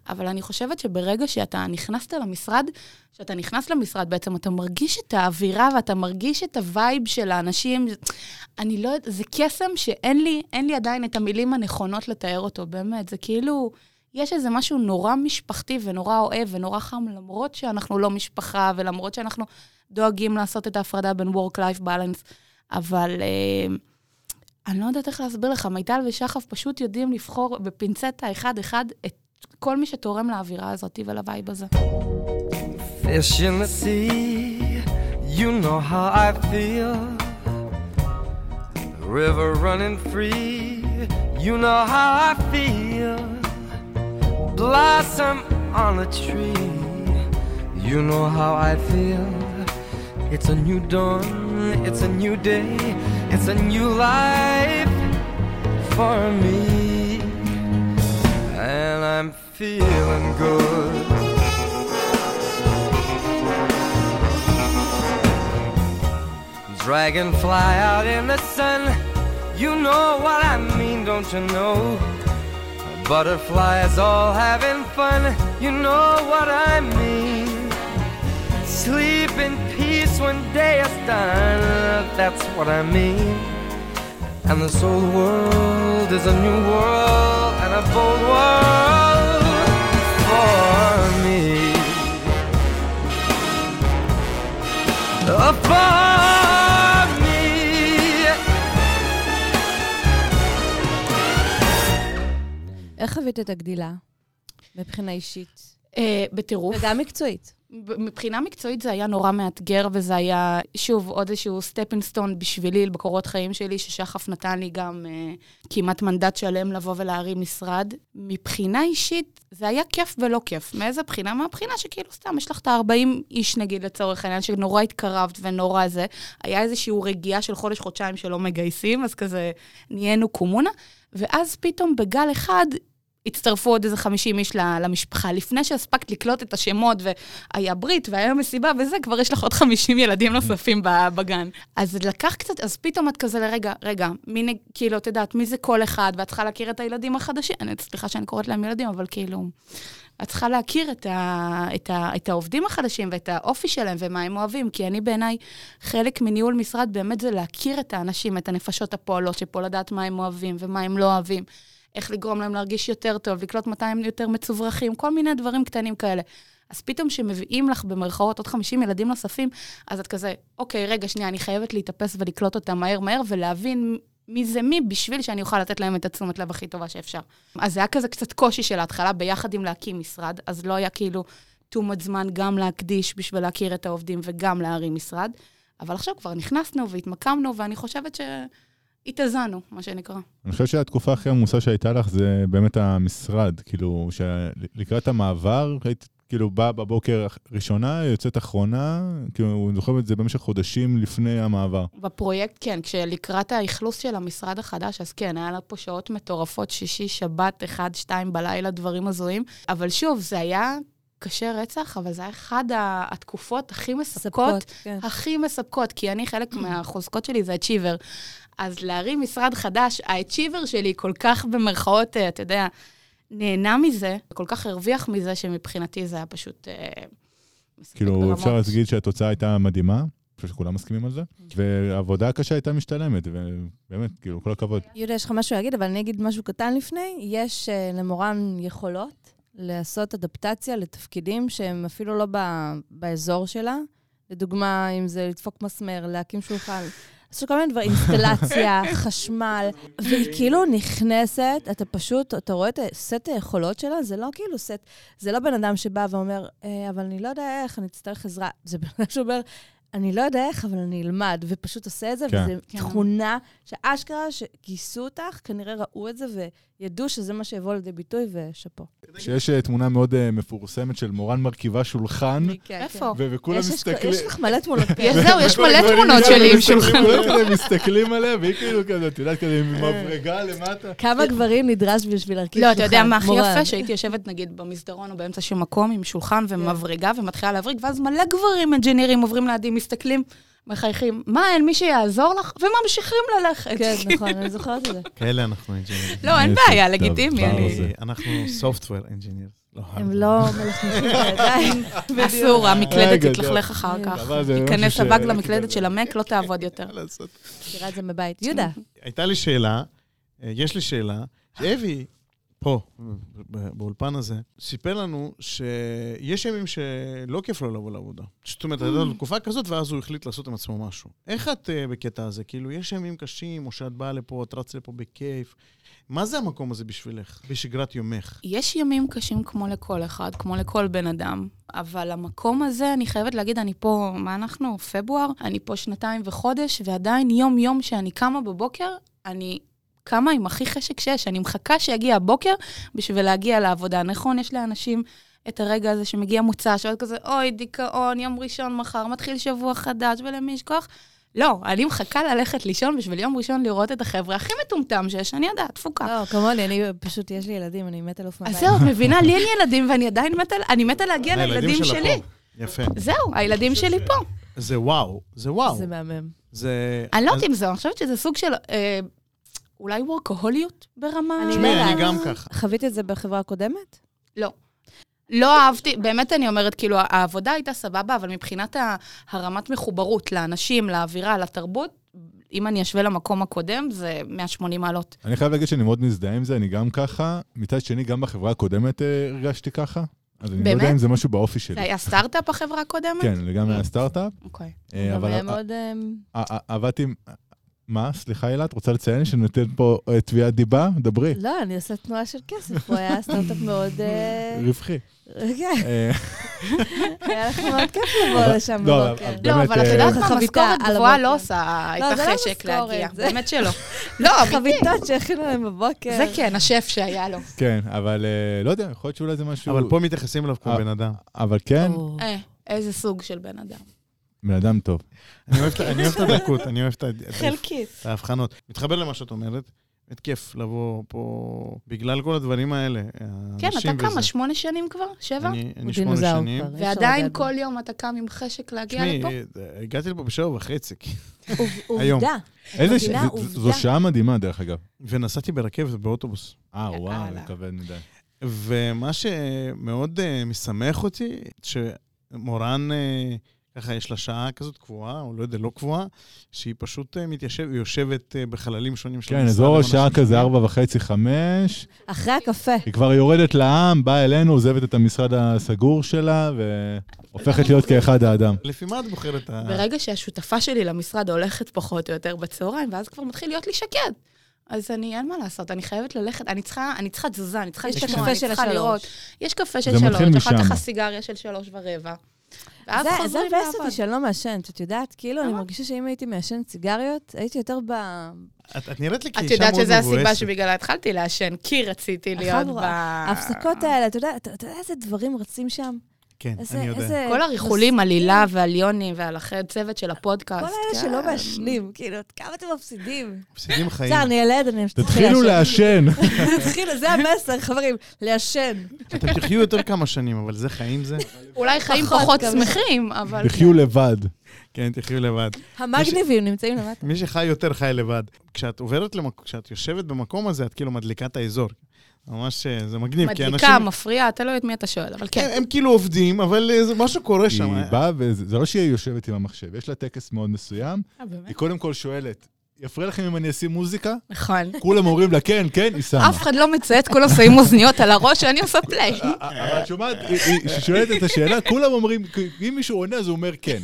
אבל אני חושבת שברגע שאתה נכנסת למשרד, כשאתה נכנס למשרד בעצם, אתה מרגיש את האווירה ואתה מרגיש את הווייב של האנשים. אני לא יודעת, זה קסם שאין לי, אין לי עדיין את המילים הנכונות לתאר אותו, באמת, זה כאילו... יש איזה משהו נורא משפחתי ונורא אוהב ונורא חם, למרות שאנחנו לא משפחה ולמרות שאנחנו דואגים לעשות את ההפרדה בין Work-Life Balance, אבל אה, אני לא יודעת איך להסביר לך, מיטל ושחף פשוט יודעים לבחור בפינצטה אחד-אחד את כל מי שתורם לאווירה הזאת ולווייב הזה. Fish in the sea, you know how I feel. River running free, you know how I feel. Blossom on a tree, you know how I feel. It's a new dawn, it's a new day, it's a new life for me. And I'm feeling good. Dragonfly out in the sun, you know what I mean, don't you know? Butterflies all having fun, you know what I mean. Sleep in peace when day is done, that's what I mean. And this old world is a new world and a bold world for me. Uh, for me. איך חווית את הגדילה מבחינה אישית אה, בטירוף. וגם מקצועית? ב- מבחינה מקצועית זה היה נורא מאתגר, וזה היה, שוב, עוד איזשהו סטפינגסטון בשבילי, בקורות חיים שלי, ששחף נתן לי גם אה, כמעט מנדט שלם לבוא ולהרים משרד. מבחינה אישית, זה היה כיף ולא כיף. מאיזה בחינה? מהבחינה שכאילו סתם, יש לך את ה-40 איש, נגיד, לצורך העניין, שנורא התקרבת ונורא זה. היה איזושהי רגיעה של חודש-חודשיים שלא מגייסים, אז כזה נהיינו קומונה. ואז פתאום בגל אחד הצטרפו עוד איזה 50 איש ל- למשפחה. לפני שהספקת לקלוט את השמות, והיה ברית והיה מסיבה וזה, כבר יש לך עוד 50 ילדים נוספים ב- בגן. אז לקח קצת, אז פתאום את כזה לרגע, רגע, מי נג... כאילו, את יודעת, מי זה כל אחד, ואת צריכה להכיר את הילדים החדשים. אני- סליחה שאני קוראת להם ילדים, אבל כאילו... את צריכה להכיר את, ה, את, ה, את העובדים החדשים ואת האופי שלהם ומה הם אוהבים, כי אני בעיניי, חלק מניהול משרד באמת זה להכיר את האנשים, את הנפשות הפועלות שפה, לדעת מה הם אוהבים ומה הם לא אוהבים, איך לגרום להם להרגיש יותר טוב, לקלוט מתי הם יותר מצוברחים, כל מיני דברים קטנים כאלה. אז פתאום כשמביאים לך במרכאות עוד 50 ילדים נוספים, אז את כזה, אוקיי, רגע, שנייה, אני חייבת להתאפס ולקלוט אותם מהר מהר ולהבין מי זה מי, בשביל שאני אוכל לתת להם את התשומת לב הכי טובה שאפשר. אז זה היה כזה קצת קושי של ההתחלה ביחד עם להקים משרד, אז לא היה כאילו too much זמן גם להקדיש בשביל להכיר את העובדים וגם להרים משרד. אבל עכשיו כבר נכנסנו והתמקמנו, ואני חושבת שהתאזנו, מה שנקרא. אני חושב שהתקופה הכי עמוסה שהייתה לך זה באמת המשרד, כאילו, שלקראת המעבר, היית כאילו באה בבוקר ראשונה, יוצאת אחרונה, כאילו, אני זוכר את זה במשך חודשים לפני המעבר. בפרויקט, כן, כשלקראת האכלוס של המשרד החדש, אז כן, היה לה פה שעות מטורפות, שישי, שבת, אחד, שתיים בלילה, דברים הזויים. אבל שוב, זה היה קשה רצח, אבל זה היה אחד ה- התקופות הכי מספקות ספקות, כן. הכי מספקות, כי אני, חלק מהחוזקות שלי זה achiever. אז להרים משרד חדש, ה-achiever שלי כל כך במרכאות, אה, אתה יודע, נהנה מזה, כל כך הרוויח מזה, שמבחינתי זה היה פשוט... אה, מספק כאילו, ברמות. אפשר להגיד שהתוצאה הייתה מדהימה, אני חושב שכולם מסכימים על זה, כן. והעבודה הקשה הייתה משתלמת, ובאמת, כאילו, כל הכבוד. כן. יהודה, יש לך משהו להגיד, אבל אני אגיד משהו קטן לפני. יש אה, למורן יכולות לעשות אדפטציה לתפקידים שהם אפילו לא ב- באזור שלה. לדוגמה, אם זה לדפוק מסמר, להקים שולחן. עשו כל מיני דברים, אינסטלציה, חשמל, והיא כאילו נכנסת, אתה פשוט, אתה רואה את סט היכולות שלה, זה לא כאילו סט, זה לא בן אדם שבא ואומר, "אה, אבל אני לא יודע איך, אני אצטרך עזרה. זה בן אדם שאומר, אני לא יודע איך, אבל אני אלמד, ופשוט עושה את זה, כן. וזו כן. תכונה שאשכרה, שגייסו אותך, כנראה ראו את זה וידעו שזה מה שיבוא לידי ביטוי, ושאפו. שיש אה, תמונה מאוד אה, מפורסמת של מורן מרכיבה שולחן, איפה? ו- וכולם כן, יש- יש- מסתכלים... יש לך מלא תמונות יש- כאלה. זהו, יש מלא תמונות שלי עם שולחן. כולם כזה מסתכלים עליה, והיא כאילו כזה, את יודעת, כזה עם כן. מברגה למטה. כמה גברים נדרש בשביל להרכיב לא, שולחן? אתה יודע מה הכי מורן. יפה? שהייתי יושבת נגיד במסדרון או באמצע שום מקום עם שולחן ומברגה ומתחילה להבריג, ואז מלא גברים אנג'ינירים עוברים לידי, מסתכלים, מחייכים, מה, אין מי שיעזור לך? וממשיכים ללכת. כן, נכון, אני זוכרת את זה. כאלה אנחנו אינג'ינירים. לא, אין איזה בעיה, דבר לגיטימי. אני- זה. אנחנו software engineers. הם לא מלכלכים את הידיים. אסור, המקלדת רגע, תתלכלך אחר אבל כך. זה משהו ייכנס ש- הבג למקלדת של המק, לא תעבוד יותר. מכירה את זה מבית. יהודה, הייתה לי שאלה, אה, יש לי שאלה, שאבי, פה, ב- באולפן הזה, סיפר לנו שיש ימים שלא כיף לו לבוא לעבודה. זאת אומרת, הייתה Mm. לו תקופה כזאת, ואז הוא החליט לעשות עם עצמו משהו. איך את אה, בקטע הזה? כאילו, יש ימים קשים, או שאת באה לפה, את רצת לפה בכיף. מה זה המקום הזה בשבילך, בשגרת יומך? יש ימים קשים כמו לכל אחד, כמו לכל בן אדם, אבל המקום הזה, אני חייבת להגיד, אני פה, מה אנחנו? פברואר? אני פה שנתיים וחודש, ועדיין יום-יום שאני קמה בבוקר, אני קמה עם הכי חשק שיש, אני מחכה שיגיע הבוקר בשביל להגיע לעבודה. נכון, יש לאנשים את הרגע הזה שמגיע מוצא, שעוד כזה, אוי, דיכאון, יום ראשון מחר, מתחיל שבוע חדש, ולמי יש כוח? לא, אני מחכה ללכת לישון בשביל יום ראשון לראות את החבר'ה הכי מטומטם שיש, אני יודעת, תפוקה. לא, כמוני, אני פשוט, יש לי ילדים, אני מתה לעוף מהבית. אז זהו, את מבינה? לי אין ילדים ואני עדיין מתה, אני מתה להגיע לילדים שלה כן, שלי. פה. יפה. זהו, הילדים שלי פה. זה וואו, זה וואו. זה מהמם. זה... אני לא אז- יודעת אם זה, אני חושבת שזה סוג של אה, אולי וורקהוליות ברמה... אני תשמעי, יודעת. אני גם ככה. חווית את זה בחברה הקודמת? לא. לא אהבתי, באמת אני אומרת, כאילו, העבודה הייתה סבבה, אבל מבחינת ה- הרמת מחוברות לאנשים, לאווירה, לתרבות, אם אני אשווה למקום הקודם, זה 180 מעלות. אני חייב להגיד שאני מאוד מזדהה עם זה, אני גם ככה. מצד שני, גם בחברה הקודמת אה, הרגשתי ככה. אז אני לא באמת? יודע אם זה משהו באופי שלי. זה היה סטארט-אפ בחברה הקודמת? כן, לגמרי היה סטארט-אפ. אוקיי. אה, גם אבל היה ע- מאוד... אמ, ע- ע- עבדתי עם... מה? סליחה, הילה, את רוצה לציין שנותן פה אה, תביעת דיבה? דברי. לא, אני עושה תנועה של כסף, הוא היה סטארט-אפ מאוד... אה, רווחי. כן. אה, היה לך כן, כן. מאוד כיף לבוא לשם לא, בבוקר. אבל- לא, באמת, אבל את אה, יודעת ככה מה, חביתה משכורת על גבוהה הבוקר. לא עושה לא, את זה לא החשק משכורת, להגיע, זה- באמת שלא. לא, אמיתי. חביתות שהכינו להם בבוקר. זה כן, השף שהיה לו. כן, אבל אה, לא יודע, יכול להיות שאולי זה משהו... אבל פה מתייחסים אליו כמו אה. בן אדם. אבל כן, או. אה, איזה סוג של בן אדם. בן אדם טוב. אני אוהב את- אני אוהב את הדקות, אני אוהב את ה- את ה- חלקית. את ההבחנות. מתחבר למה שאת אומרת, באמת כיף לבוא פה בגלל כל הדברים האלה. כן, אתה האנשים וזה. כמה? שמונה שנים כבר? שבע? אני- הוא אני שמונה דינוזאור שנים. כבר, אי אפשר ועדיין לגעת בו. כל יום אתה קם עם חשק להגיע תשמעי, לפה? אה, הגעתי לפה בשבע וחצי, כי- עוב- היום. עובדה. איזה... ש- מבינה? ז- ז- זו עובדה. שעה מדהימה, דרך אגב. ונסעתי ברכבת ובאוטובוס. אה, וואו, יאללה. זה כבד כן, מדי. ומה שמאוד אה, משמח אותי, שמורן, אה, ככה יש לה שעה כזאת קבועה, או לא יודע, לא קבועה, שהיא פשוט אה, מתיישבת, היא יושבת אה, בחללים שונים של כן, המשרד אזור עם השעה אנשים כזה שונים. ארבע וחצי, חמש, אחרי הקפה. היא כבר יורדת לעם, באה אלינו, עוזבת את המשרד הסגור שלה, והופכת להיות כאחד האדם. לפי מה את בוחרת את ה... ברגע שהשותפה שלי למשרד הולכת פחות או יותר בצהריים, ואז כבר מתחיל להיות לי שקט. אז אני, אין מה לעשות, אני חייבת ללכת, אני צריכה, אני צריכה תזוזה, אני צריכה יש את לשמוע, הקפה אני של צריכה השלוש. לראות. יש קפה של זה מתחיל שלוש, אחר משם. כך הסיגריה של שלוש ורבע. ואז זה- זה חוזרים אה? מבאס לעבוד. אותי שאני לא מעשנת, את יודעת? כאילו, אני למה? מרגישה שאם הייתי מעשנת סיגריות, הייתי יותר ב... את את נראית לי את כאישה מאוד יודעת מבואסת. שזו הסיבה שבגללה התחלתי לעשן, כי רציתי להיות ב... החבורה, ההפסקות אה. האלה, אתה יודע, אתה אתה יודע איזה דברים רצים שם? כן, איזה- אני יודע. איזה כל הריחולים נושאים. על הילה ועל יוני ועל אחרי צוות של הפודקאסט. כל האלה כן. שלא מעשנים, כאילו, כמה אתם מפסידים? מפסידים חיים. בסדר, אני ילד, אני אמשיך תתחילו לעשן. תתחילו, זה המסר, חברים, לעשן. אתם תחיו יותר כמה שנים, אבל זה חיים זה. אולי חיים פחות פחות גם. שמחים, אבל... תחיו לבד. כן, תחיו לבד. המגניבים נמצאים למטה. מי שחי יותר חי לבד. כשאת עוברת למקום, כשאת יושבת במקום הזה, את כאילו מדליקה את האזור. ממש, אה, זה מגניב. כי מדליקה, אנשים- מפריעה, אתה לא יודע את מי אתה שואל, אבל הם, כן. הם כאילו עובדים, אבל אה, זה משהו קורה היא שם. באה, וזה זה לא שהיא יושבת עם המחשב, יש לה טקס מאוד מסוים. אה, היא קודם כל שואלת, יפריע לכם אם אני אשים מוזיקה? נכון. כולם אומרים לה, כן, כן, היא שמה. אף אחד לא מציית, כולם שמים אוזניות על הראש, אני עושה פליי. אבל את שומעת, היא- היא- היא שואלת את השאלה, כולם אומרים, אם מישהו עונה אז הוא אומר כן.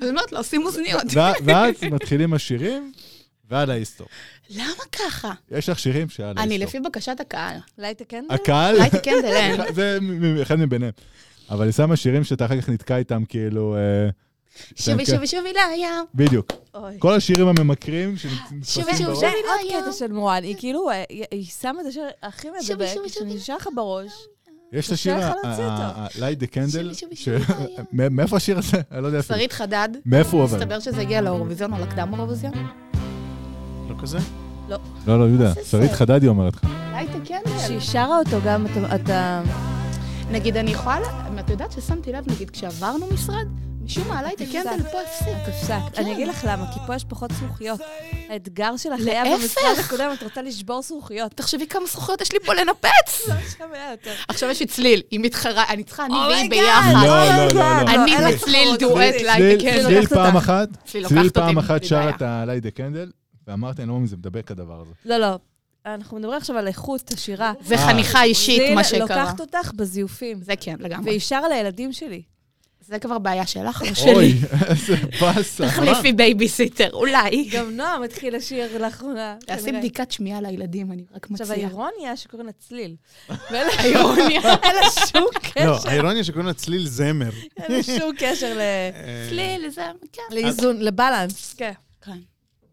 אז אומרת לו, עושים אוזניות. ו- ואז מתחילים השירים, ועל ההיסטור. למה ככה? לא יש לך שירים שעל ההיסטור. אני לפי כן. בקשת הקהל. אולי כן? תקן? הקהל, אולי תקן דלן. זה מ- מ- אחד מביניהם. אבל היא שמה שירים שאתה אחר כך נתקע איתם, כאילו... אה, שובי, שובי, שובי לא לים. בדיוק. אוי. כל השירים הממכרים שנתפסים שוב, שוב, בראש. זה שובי עוד לים. קטע של מורן, היא כאילו, אה, היא- היא שמה את השיר הכי שובי, מדבק, שובי, שובי. שנשאר לך בראש. יש את קשה השיר, לך להוציא אותו. לייט דה קנדל, שובי, שובי, שובי, שובי. מאיפה השיר הזה? אני לא יודע אפילו. שרית חדד. מאיפה הוא עובר? מסתבר שזה הגיע לאירוויזיון או לקדם אירוויזיון. לא כזה? לא, לא, יהודה, זה שרית זה? חדדי אומרת לך. אולי תקן דלן. כשהיא שרה אותו גם, אתה- אתה... נגיד, אני יכולה... ל- את יודעת ששמתי לב, נגיד, כשעברנו משרד, משום מה, עליי תקן דלן פה הפסיק. הפסק. אני אגיד לך למה, כי פה יש פחות זכוכיות. האתגר שלך היה להפך. במשרד הקודם, את רוצה לשבור זכוכיות. תחשבי כמה זכוכיות יש לי פה לנפץ! לא, Oh יש לך מאה יותר. עכשיו יש לי צליל, היא מתחרה, אני צריכה, אני והיא אומייגאד, ביחד. לא, אומייגאד. לא, לא, לא. אני אה, אין לך וצליל תחרות, דואט, צליל. צליל- לייט דה קנדל. צליל לוקחת פעם אותך. אחת, צליל צליל לוקחת פעם אותי, אחת בלי שרה בעיה. את הלייט דה קנדל, ואמרתי, אני לא מאמין, זה מדבק הדבר הזה. לא, לא. אנחנו מדברים עכשיו על איכות השירה. זה אה. חניכה אישית, מה שקרה. לוקחת אותך בזיופים. זה כן, לגמרי. לא והיא שרה לילדים שלי. זה כבר בעיה שלך או אוי, שלי. איזה באסה. תחליפי בייביסיטר, אולי. גם נועם התחיל לשיר לאחרונה. תעשי כנראה. בדיקת שמיעה לילדים, אני רק עכשיו, מציעה. האירוניה שקוראים לה צליל. האירוניה. אין לה שום לא, קשר, האירוניה שקוראים לה צליל זמר. אין לה שום קשר ל- אה. צליל, זה... כן. לאיזון, לבלנס. כן. אה, כן.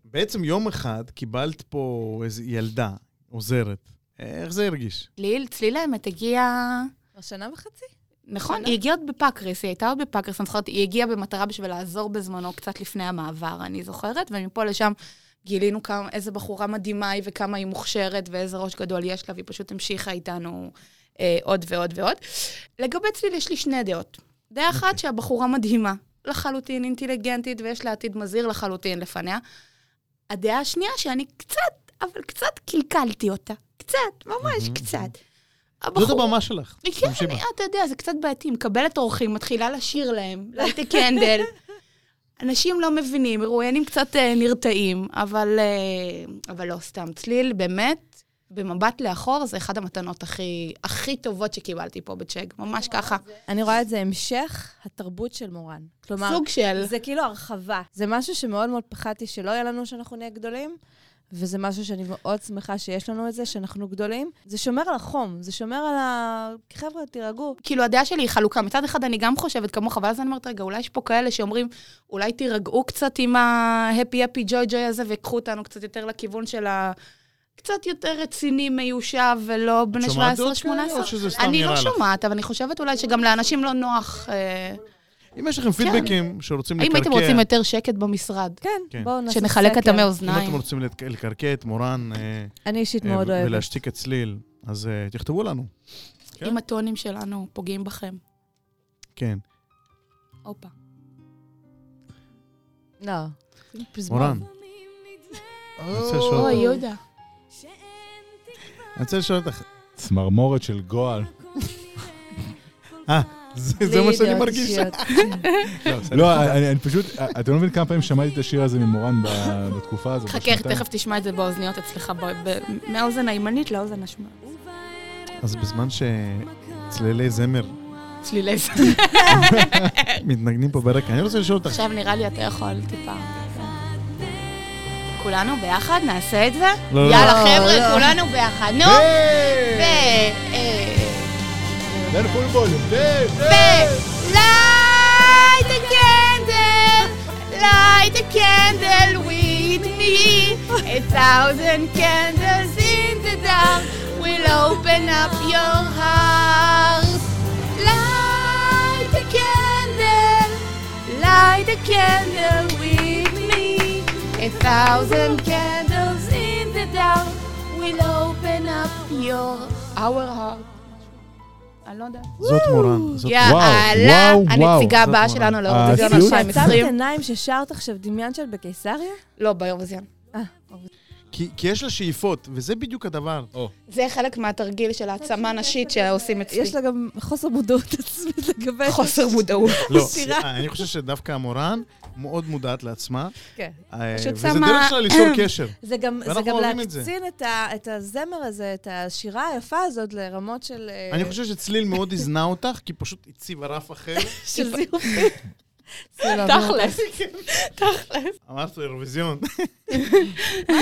בעצם יום אחד קיבלת פה איזו ילדה עוזרת. אה, איך זה הרגיש? צליל, צליל האמת הגיע... כבר שנה וחצי? נכון, היא הגיעה עוד בפקריס, היא הייתה עוד בפקריס, אני זוכרת, היא הגיעה במטרה בשביל לעזור בזמנו, קצת לפני המעבר, אני זוכרת, ומפה לשם גילינו כמה, איזה בחורה מדהימה היא וכמה היא מוכשרת ואיזה ראש גדול יש לה, והיא פשוט המשיכה איתנו אה, עוד ועוד ועוד. לגבי צליל יש לי שני דעות. דעה אחת שהבחורה מדהימה, לחלוטין אינטליגנטית, ויש לה עתיד מזהיר לחלוטין לפניה. הדעה השנייה שאני קצת, אבל קצת קלקלתי אותה. קצת, ממש קצת. זאת הבחורה- הבמה שלך. היא כן, תשתמשי בה. אני- אתה יודע, זה קצת בעייתי. מקבלת אורחים, מתחילה לשיר להם, לייטה קנדל. אנשים לא מבינים, מרואיינים קצת אה, נרתעים, אבל, אה, אבל לא סתם. צליל, באמת, במבט לאחור, זה אחת המתנות הכי, הכי טובות שקיבלתי פה בצ'ק, ממש ככה. אני רואה את זה המשך התרבות של מורן. כלומר, סוג של... זה כאילו הרחבה. זה משהו שמאוד מאוד פחדתי שלא יהיה לנו שאנחנו נהיה גדולים, וזה משהו שאני מאוד שמחה שיש לנו את זה, שאנחנו גדולים. זה שומר על החום, זה שומר על ה... חבר'ה, תירגעו. כאילו, הדעה שלי היא חלוקה. מצד אחד, אני גם חושבת כמוך, ואז אני אומרת, רגע, אולי יש פה כאלה שאומרים, אולי תירגעו קצת עם ההפי הפי ג'וי ג'וי הזה, וקחו אותנו קצת יותר לכיוון של ה... קצת יותר רציני, מיושב, ולא בני 17-18. שומעת עוד כאלה, או שזה סתם אני נראה לא לך? שומעת, אבל אני חושבת אולי שגם לאנשים לא נוח. אה, אם יש לכם פידבקים שרוצים לקרקע... האם הייתם רוצים יותר שקט במשרד? כן, כן. בואו נעשה סקר. שנחלק את המי אם אוזניים. אתם רוצים לתק- לקרקע את מורן אה, אני אישית אה, מאוד ו- אוהבת. ולהשתיק את צליל, אז אה, תכתבו לנו. כן. אם הטונים שלנו פוגעים בכם. כן. הופה. לא. פזמון. מורן. אני רוצה לשאול- אוי, יהודה. אני רוצה לשאול אותך. צמרמורת של גועל. אה, זה זה מה שאני לידות מרגיש. אישיות. לא, אני אני פשוט, אתם לא מבינים כמה פעמים שמעתי את השיר הזה ממורן ב- בתקופה הזאת. חכה, בשנתיים. תכף תשמע את זה באוזניות אצלך, ב- ב- מהאוזן הימנית לאוזן השמאלית. אז בזמן שצלילי זמר צלילי זמן. מתנגנים פה ברקע, אני רוצה לשאול אותך. עכשיו נראה לי אתה יכול טיפה. כולנו ביחד נעשה את זה? לא, לא, יאללה לא. חבר'ה, כולנו ביחד, נו! ו... אה, תן פול ווליום, תן, תן. ו... לייט א קנדל, לייט א קנדל with me, a thousand candles in the dark will open up your heart. Light a candle, light a candle with me. A thousand candles in the dark will open up your our heart. אני לא יודעת. זאת מורן. זאת- יאללה, וואו, וואו. הנציגה זאת הבאה מורה. שלנו לאירוויזיון הסיוט. 2020. עצמת עיניים ששרת עכשיו דמיין של בקיסריה? לא, באירוויזיון. אה, כי כי יש לה שאיפות, וזה בדיוק הדבר. זה חלק מהתרגיל של העצמה נשית שעושים אצלי. יש לה גם חוסר מודעות עצמית לגבי... חוסר מודעות. לא, שירה. אה, אני חושב שדווקא מורן מאוד מודעת לעצמה, כן. אה, פשוט וזה שמה- דרך שלה ליצור קשר. זה גם, זה ואנחנו גם אוהבים את זה. להקצין את, ה, את הזמר הזה, את השירה היפה הזאת לרמות של... אה, אני חושב שצליל מאוד הזנה אותך, כי פשוט הציבה רף אחר. של זיוף. תכלס. אמרת לו אירוויזיון.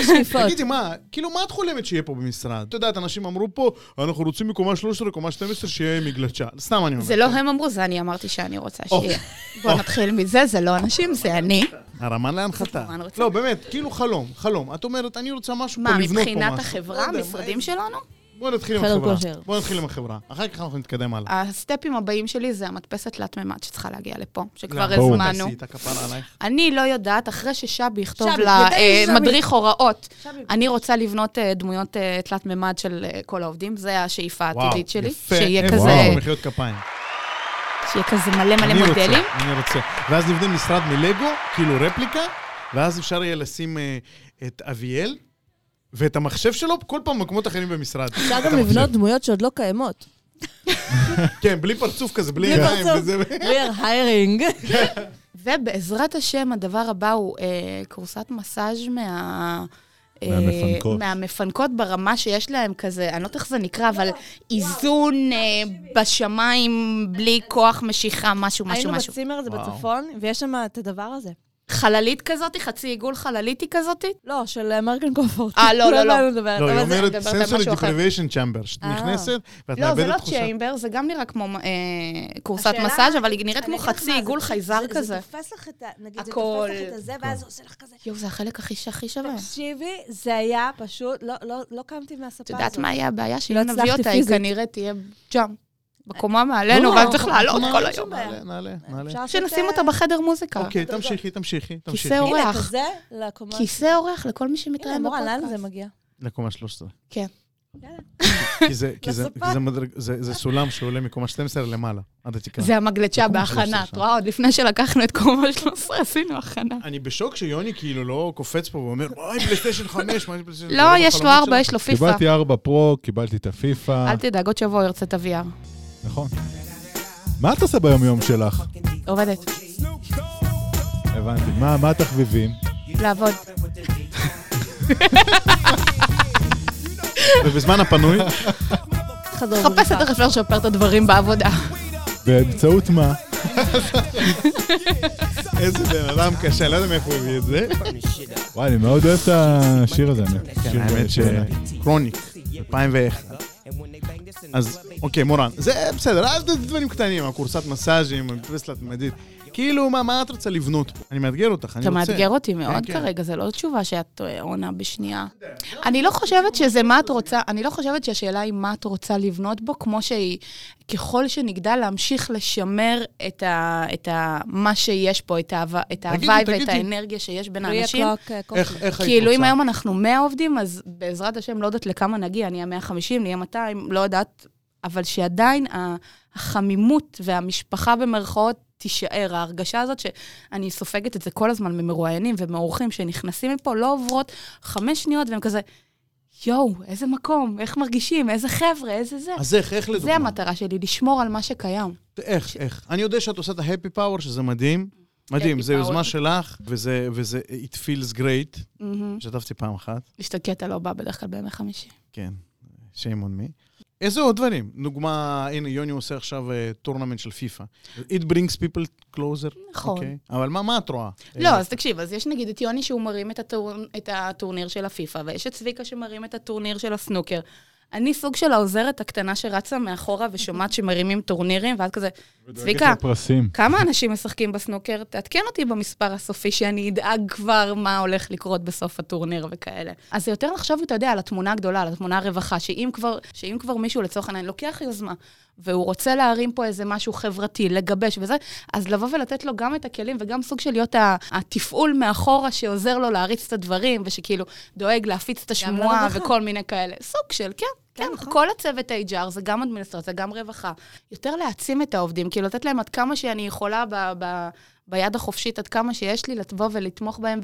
שאיפות. תגידי, מה, כאילו, מה את חולמת שיהיה פה במשרד? את יודעת, אנשים אמרו פה, אנחנו רוצים מקומה 13 לקומה 12 שיהיה מגלשה. סתם אני אומר. זה לא הם אמרו, זה אני אמרתי שאני רוצה או. שיהיה. בואו נתחיל מזה, זה לא אנשים, זה אני. הרמה להנחתה. נורא רוצה. לא, באמת, כאילו חלום, חלום. את אומרת, אני רוצה משהו מה, פה, לבנות פה משהו. מבחינת לא החברה, יודע, מה- המשרדים שלנו? בואו נתחיל עם חדר החברה. כושר. בואו נתחיל עם החברה. אחר כך אנחנו נתקדם הלאה. הסטפים הבאים שלי זה המדפסת תלת-ממד שתצריכה להגיע לפה, שכבר למה? ברור. הזמנו. לא. תעשי את הכפרה עלייך. אני לא יודעת, אחרי ששבי יכתוב שבי, לה ידעתי אה, ששבי. מדריך הוראות, שבי. אני רוצה לבנות אה, דמויות אה, תלת-ממד של אה, כל העובדים, זה השאיפה וואו, העתידית שלי. יפה. שיהיה איפה כזה, אנחנו? מחיאות כפיים. שיהיה כזה מלא אני מלא רוצה, מודלים. אני רוצה. ואז נבנה משרד מלגו, כאילו רפליקה, ואז אפשר יהיה לשים אה, את אביאל ואת המחשב שלו כל פעם במקומות אחרים במשרד. אפשר את גם המחשב. לבנות דמויות שעוד לא קיימות. כן, בלי פרצוף כזה, בלי בלי עיניים פרצוף. וזה. We are hiring. ובעזרת השם, הדבר הבא הוא אה, קורסת מסאז' מה... אה, מהמפנקות. מהמפנקות ברמה שיש להם כזה, אני לא יודעת איך זה נקרא, אבל איזון אה, בשמיים בלי כוח משיכה, משהו, משהו, היינו משהו. בצימר הזה בצפון, ויש שם את הדבר הזה. חללית כזאת, חצי עיגול חלליתי כזאת, לא, של אמריקן קומפורט. אה, לא, לא, לא. לא, היא אומרת מדברת על sensory משהו אחר. deprivation chamber, שאת אה. נכנסת ואת לא, זה מאבדת לא תחושה. צ'יימבר, זה גם נראה כמו אה, קורסת השאלה- מסאז', אבל היא נראית כמו חצי עיגול חייזר זה כזה. תופס לך את ה... נגיד, זה הכל. אה. תופס לך את הזה, ואז זה עושה לך כזה... יואו, זה החלק הכי שהכי שווה. תקשיבי, זה היה פשוט... לא- לא- לא קמתי מהספה את הזאת. יודעת מה היה הבעיה? שאם נביא הצלחתי אותה, היא פיזית. כנראה תהיה לא, ג'אם. לא בקומה מעלינו, ואז צריך לעלות מה, כל אין היום. שום בעיה. נעלה, נעלה. אפשר לעשות, שנשים אה, אותה בחדר מוזיקה. אוקיי, תמשיכי, תמשיכי, תמשיכי. כיסא הנה, אורח. כזה לקומה... כיסא אורח לכל מי הנה, שמתראיין מורן, לאן זה בפודקאסט. מגיע? לקומה 13. כן. כי זה- כי זה- לספה. כי זה מדרג- זה זה סולם שעולה מקומה 12 למעלה, עד התקרה. זה המגלצ'ה לקומה בהכנה, 13. את רואה? עוד לפני שלקחנו את קומה 13, עשינו הכנה. אני בשוק שיוני כאילו לא קופץ פה ואומר, וואי, פלייסטיישן 5, מה יש פלייסטיישן? לא, יש לו ארבע, יש לו פיפה. קיבלתי ארבע פרו, קיבלתי את הפיפא. אל תדאג, עוד שבוע הוא ירצה את ה-VR. נכון. מה את עושה ביום-יום שלך? עובדת. הבנתי. מה מה התחביבים? לעבוד. ובזמן הפנוי, חדור חפשת איך אפשר לשפר את הדברים בעבודה. באמצעות מה? איזה בן אדם קשה, לא יודע מאיפה הוא הביא את זה. וואי, אני מאוד אוהב את השיר הזה. האמת. שיר כן, האמת ש... באמת. קרוניק, 2001. אז אוקיי, מורן. זה בסדר, אז זה דברים קטנים, הקורסת מסאז'ים, המדפסת תלת-מדית. כאילו, מה, מה את רוצה לבנות פה? אני מאתגר אותך, אני אתה רוצה. מאתגר אותי מאוד כן. כרגע, זו לא תשובה שאת אה, עונה בשנייה. אני לא חושבת שזה מה את רוצה, אני לא חושבת שהשאלה היא מה את רוצה לבנות בו, כמו שהיא, ככל שנגדל, להמשיך לשמר את ה- את ה- מה שיש פה, את ה- את תגידי, ההוואי ואת תגידי. האנרגיה שיש בין three האנשים. o'clock, אה, coffee. איך, איך היית כאילו, אם רוצה? היום אנחנו 100 עובדים, אז בעזרת השם, לא יודעת לכמה נגיע, נהיה 150, נהיה 200, לא יודעת, אבל שעדיין ה- החמימות והמשפחה במרכאות תישאר. ההרגשה הזאת שאני סופגת את זה כל הזמן ממרואיינים ומאורחים שנכנסים מפה, לא עוברות חמש שניות, והם כזה, יואו, איזה מקום, איך מרגישים, איזה חבר'ה, איזה זה. אז איך, איך זה לדוגמה? המטרה שלי, לשמור על מה שקיים. איך, איך? אני יודע שאת עושה את ההפי פאוור, שזה מדהים. מדהים, Happy זו Power. יוזמה שלך, וזה, וזה, it feels great. השתתפתי פעם אחת, השתגע, אתה לא בא בדרך כלל בימי חמישי. כן, shame on me. איזה עוד דברים? דוגמה, הנה, יוני עושה עכשיו אה, טורנמנט של פיפא. It brings people closer. נכון. אוקיי. אבל מה, מה את רואה? לא, אז תקשיב, אז יש נגיד את יוני שהוא מרים את, הטור... את הטורניר של הפיפ"א, ויש את צביקה שמרים את הטורניר של הסנוקר. אני סוג של העוזרת הקטנה שרצה מאחורה ושומעת שמרימים טורנירים, ואז כזה, צביקה, דואגת לפרסים. כמה אנשים משחקים בסנוקר? תעדכן אותי במספר הסופי, שאני אדאג כבר מה הולך לקרות בסוף הטורניר וכאלה. אז זה יותר לחשוב, אתה יודע, על התמונה הגדולה, על התמונה הרווחה, שאם כבר, שאם כבר מישהו לצורך העניין לוקח יוזמה, והוא רוצה להרים פה איזה משהו חברתי, לגבש וזה, אז לבוא ולתת לו גם את הכלים וגם סוג של להיות ה- התפעול מאחורה שעוזר לו להריץ את הדברים, ושכאילו דואג להפיץ את השמועה לרווחה. וכל מיני כאלה. סוג של, כן. כן, כל הצוות HR, זה גם אדמיניסטרציה, גם רווחה. יותר להעצים את העובדים, כאילו לתת להם עד כמה שאני יכולה ב, ב, ביד החופשית, עד כמה שיש לי, לבוא ולתמוך בהם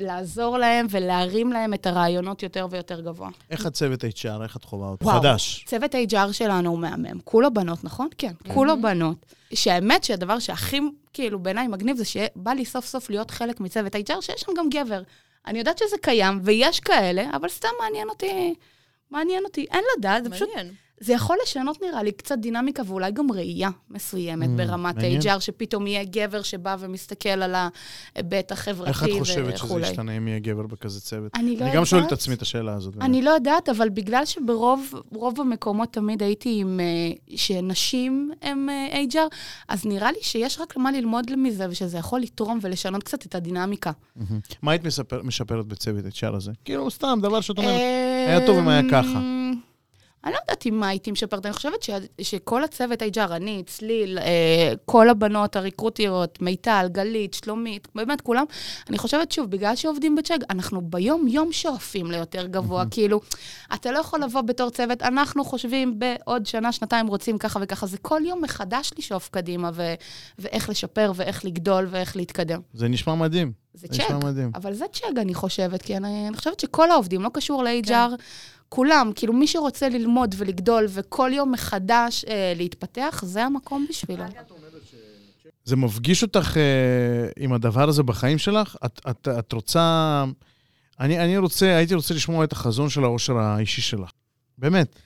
ולעזור להם ולהרים להם את הרעיונות יותר ויותר גבוה. איך הצוות HR, איך את חווה אותו? וואו. חדש. צוות ה-HR שלנו הוא מהמם. כולו בנות, נכון? כן, כולו בנות. שהאמת שהדבר שהכי, כאילו, בעיניי מגניב זה שבא לי סוף סוף להיות חלק מצוות ה-HR, שיש שם גם גבר. אני יודעת שזה קיים, ויש כאלה, אבל סתם מעניין אותי, מעניין אותי. אין לדעת, זה פשוט... מעניין. זה יכול לשנות, נראה לי, קצת דינמיקה ואולי גם ראייה מסוימת Mm, ברמת מעניין. ה-HR, שפתאום יהיה גבר שבא ומסתכל על ההיבט החברתי איך וכולי. את חושבת שזה ישתנה אם יהיה גבר בכזה צוות? אני לא אני גם שואל את יודעת. עצמי את השאלה הזאת. באמת. אני לא יודעת, אבל בגלל שברוב רוב המקומות תמיד הייתי עם... אה, שנשים הם אה, HR, אז נראה לי שיש רק מה ללמוד מזה, ושזה יכול לתרום ולשנות קצת את הדינמיקה. מהמם. מה היית מספר- משפרת בצוות HR הזה? כאילו, סתם, דבר שאת אומרת. אה, היה טוב אם היה ככה. אמ, אני לא יודעת אם מה הייתי משפרת, אני חושבת ש, שכל הצוות HR, אני, צליל, אה, כל הבנות הריקרוטיות, מיטל, גלית, שלומית, באמת כולם, אני חושבת, שוב, בגלל שעובדים בצ'אג, אנחנו ביום-יום שואפים ליותר גבוה. כאילו, אתה לא יכול לבוא בתור צוות, אנחנו חושבים בעוד שנה, שנתיים רוצים ככה וככה, זה כל יום מחדש לשאוף קדימה, ו- ואיך לשפר, ואיך לגדול, ואיך להתקדם. זה נשמע מדהים. זה זה צ'אג. נשמע מדהים. אבל זה צ'ג, אני חושבת, כי אני, אני חושבת שכל העובדים, לא קשור ל-HR, כן. כולם, כאילו מי שרוצה ללמוד ולגדול וכל יום מחדש אה, להתפתח, זה המקום בשבילו. זה מפגיש אותך אה, עם הדבר הזה בחיים שלך? את, את, את רוצה... אני, אני רוצה, הייתי רוצה לשמוע את החזון של האושר האישי שלך. באמת.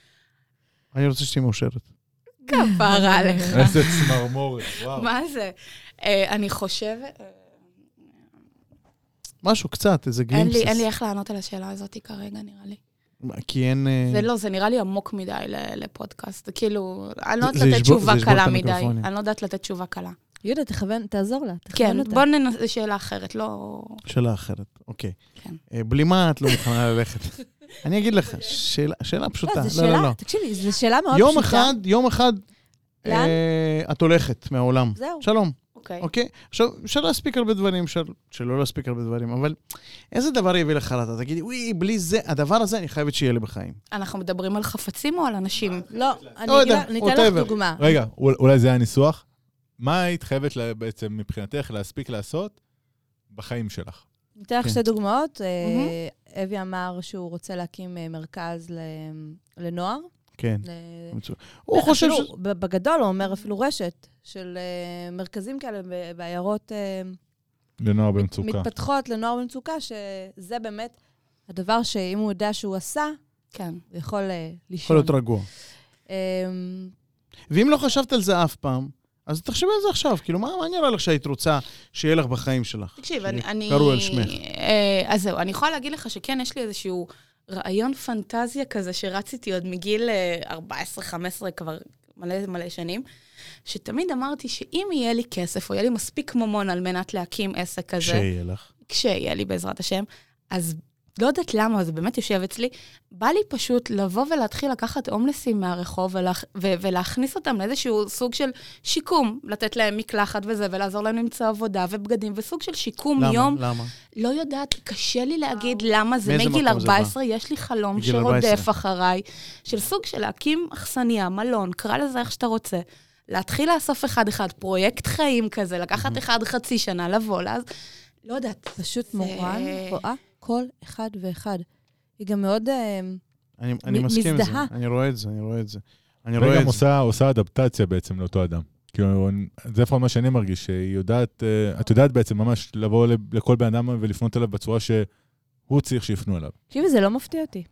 אני רוצה שתהיי מאושרת. כפרה עליך. אה, איזה צמרמורת, לא. וואו. מה זה? אה, אני חושבת... אה, משהו קצת, איזה אין גלימפסס. לי, אין לי איך לענות על השאלה הזאת כרגע, נראה לי. כי אין... אה, זה לא, זה נראה לי עמוק מדי ל- לפודקאסט. זה כאילו, אני לא זה- יודעת זה לתת ישבור- תשובה זה ישבור את קלה מדי. המיקרופונים. לא אני לא יודעת לתת תשובה קלה. יהודה, תכוון, תעזור לה, תכוון כן, אותה. בוא ננסה שאלה אחרת, לא... שאלה אחרת, אוקיי. כן. אה, בלי מה את לא מוכנה ללכת? אני אגיד לך, שאלה- שאלה פשוטה. לא, לא, זו לא, שאלה, לא. תקשיבי, זו שאלה מאוד פשוטה. יום אחד, יום אחד, לאן? אה, את הולכת מהעולם. זהו. שלום. אוקיי. אוקיי? עכשיו, אפשר להספיק הרבה דברים, אפשר שלא להספיק הרבה דברים, אבל איזה דבר יביא לך רעתה? תגידי, אוי, בלי זה, הדבר הזה אני חייבת שיהיה לי בחיים. אנחנו מדברים על חפצים או על אנשים? לא, אני לא אגיד יודע, לך- אני אתן לך whatever. דוגמה. רגע, אול- אולי זה היה ניסוח. מה היית חייבת לה- בעצם מבחינתך להספיק לעשות בחיים שלך? אני אתן לך כן. שתי דוגמאות. אה, אבי אמר שהוא רוצה להקים אה, מרכז ל- לנוער. כן. ל- אה, הוא חושב ש... אפילו ב- בגדול, הוא אומר אפילו רשת של אה, מרכזים כאלה ב- בעיירות אה, לנוער במצוקה. מתפתחות לנוער במצוקה, שזה באמת הדבר שאם הוא יודע שהוא עשה, כן. הוא יכול אה, יכול לישון. להיות רגוע. אה, ואם לא חשבת על זה אף פעם, אז תחשבי על זה עכשיו, כאילו, מה, מה נראה לך שהיית רוצה שיהיה לך בחיים שלך? תקשיב, אני... אני- קראו על שמך. אה, אז זהו, אני יכולה להגיד לך שכן, יש לי איזשהו רעיון פנטזיה כזה שרץ איתי עוד מגיל אה, 14-15, כבר מלא מלא שנים, שתמיד אמרתי שאם יהיה לי כסף, או יהיה לי מספיק ממון על מנת להקים עסק כזה, שיהיה לך. כשיהיה לי בעזרת השם, אז לא יודעת למה, זה באמת יושב אצלי, בא לי פשוט לבוא ולהתחיל לקחת הומלסים מהרחוב ולהכ... ו- ולהכניס אותם לאיזשהו סוג של שיקום, לתת להם מקלחת וזה, ולעזור להם למצוא עבודה ובגדים, וסוג של שיקום למה? יום. למה? לא יודעת, קשה לי להגיד למה זה. מאיזה מגיל מקום זה בא? 14 יש לי חלום מגיל 14. שרודף אחריי, של סוג של להקים אכסניה, מלון, קרא לזה איך שאתה רוצה. להתחיל לאסוף אחד-אחד, פרויקט חיים כזה, לקחת אחד חצי שנה, לבוא, אז לא יודעת. פשוט זה- מורן רואה כל אחד ואחד. היא גם מאוד... אה, אני, אני מ- מסכים עם זה, מזדהה. אני רואה את זה, אני רואה את זה. אני וגם רואה את זה. עושה, עושה אדפטציה בעצם לאותו אדם. כאילו, זה לפחות מה שאני מרגיש, שהיא יודעת, אה, את יודעת בעצם ממש לבוא ל- לכל בן אדם ולפנות אליו בצורה שהוא צריך שיפנו אליו. תקשיבי, זה לא מפתיע אותי.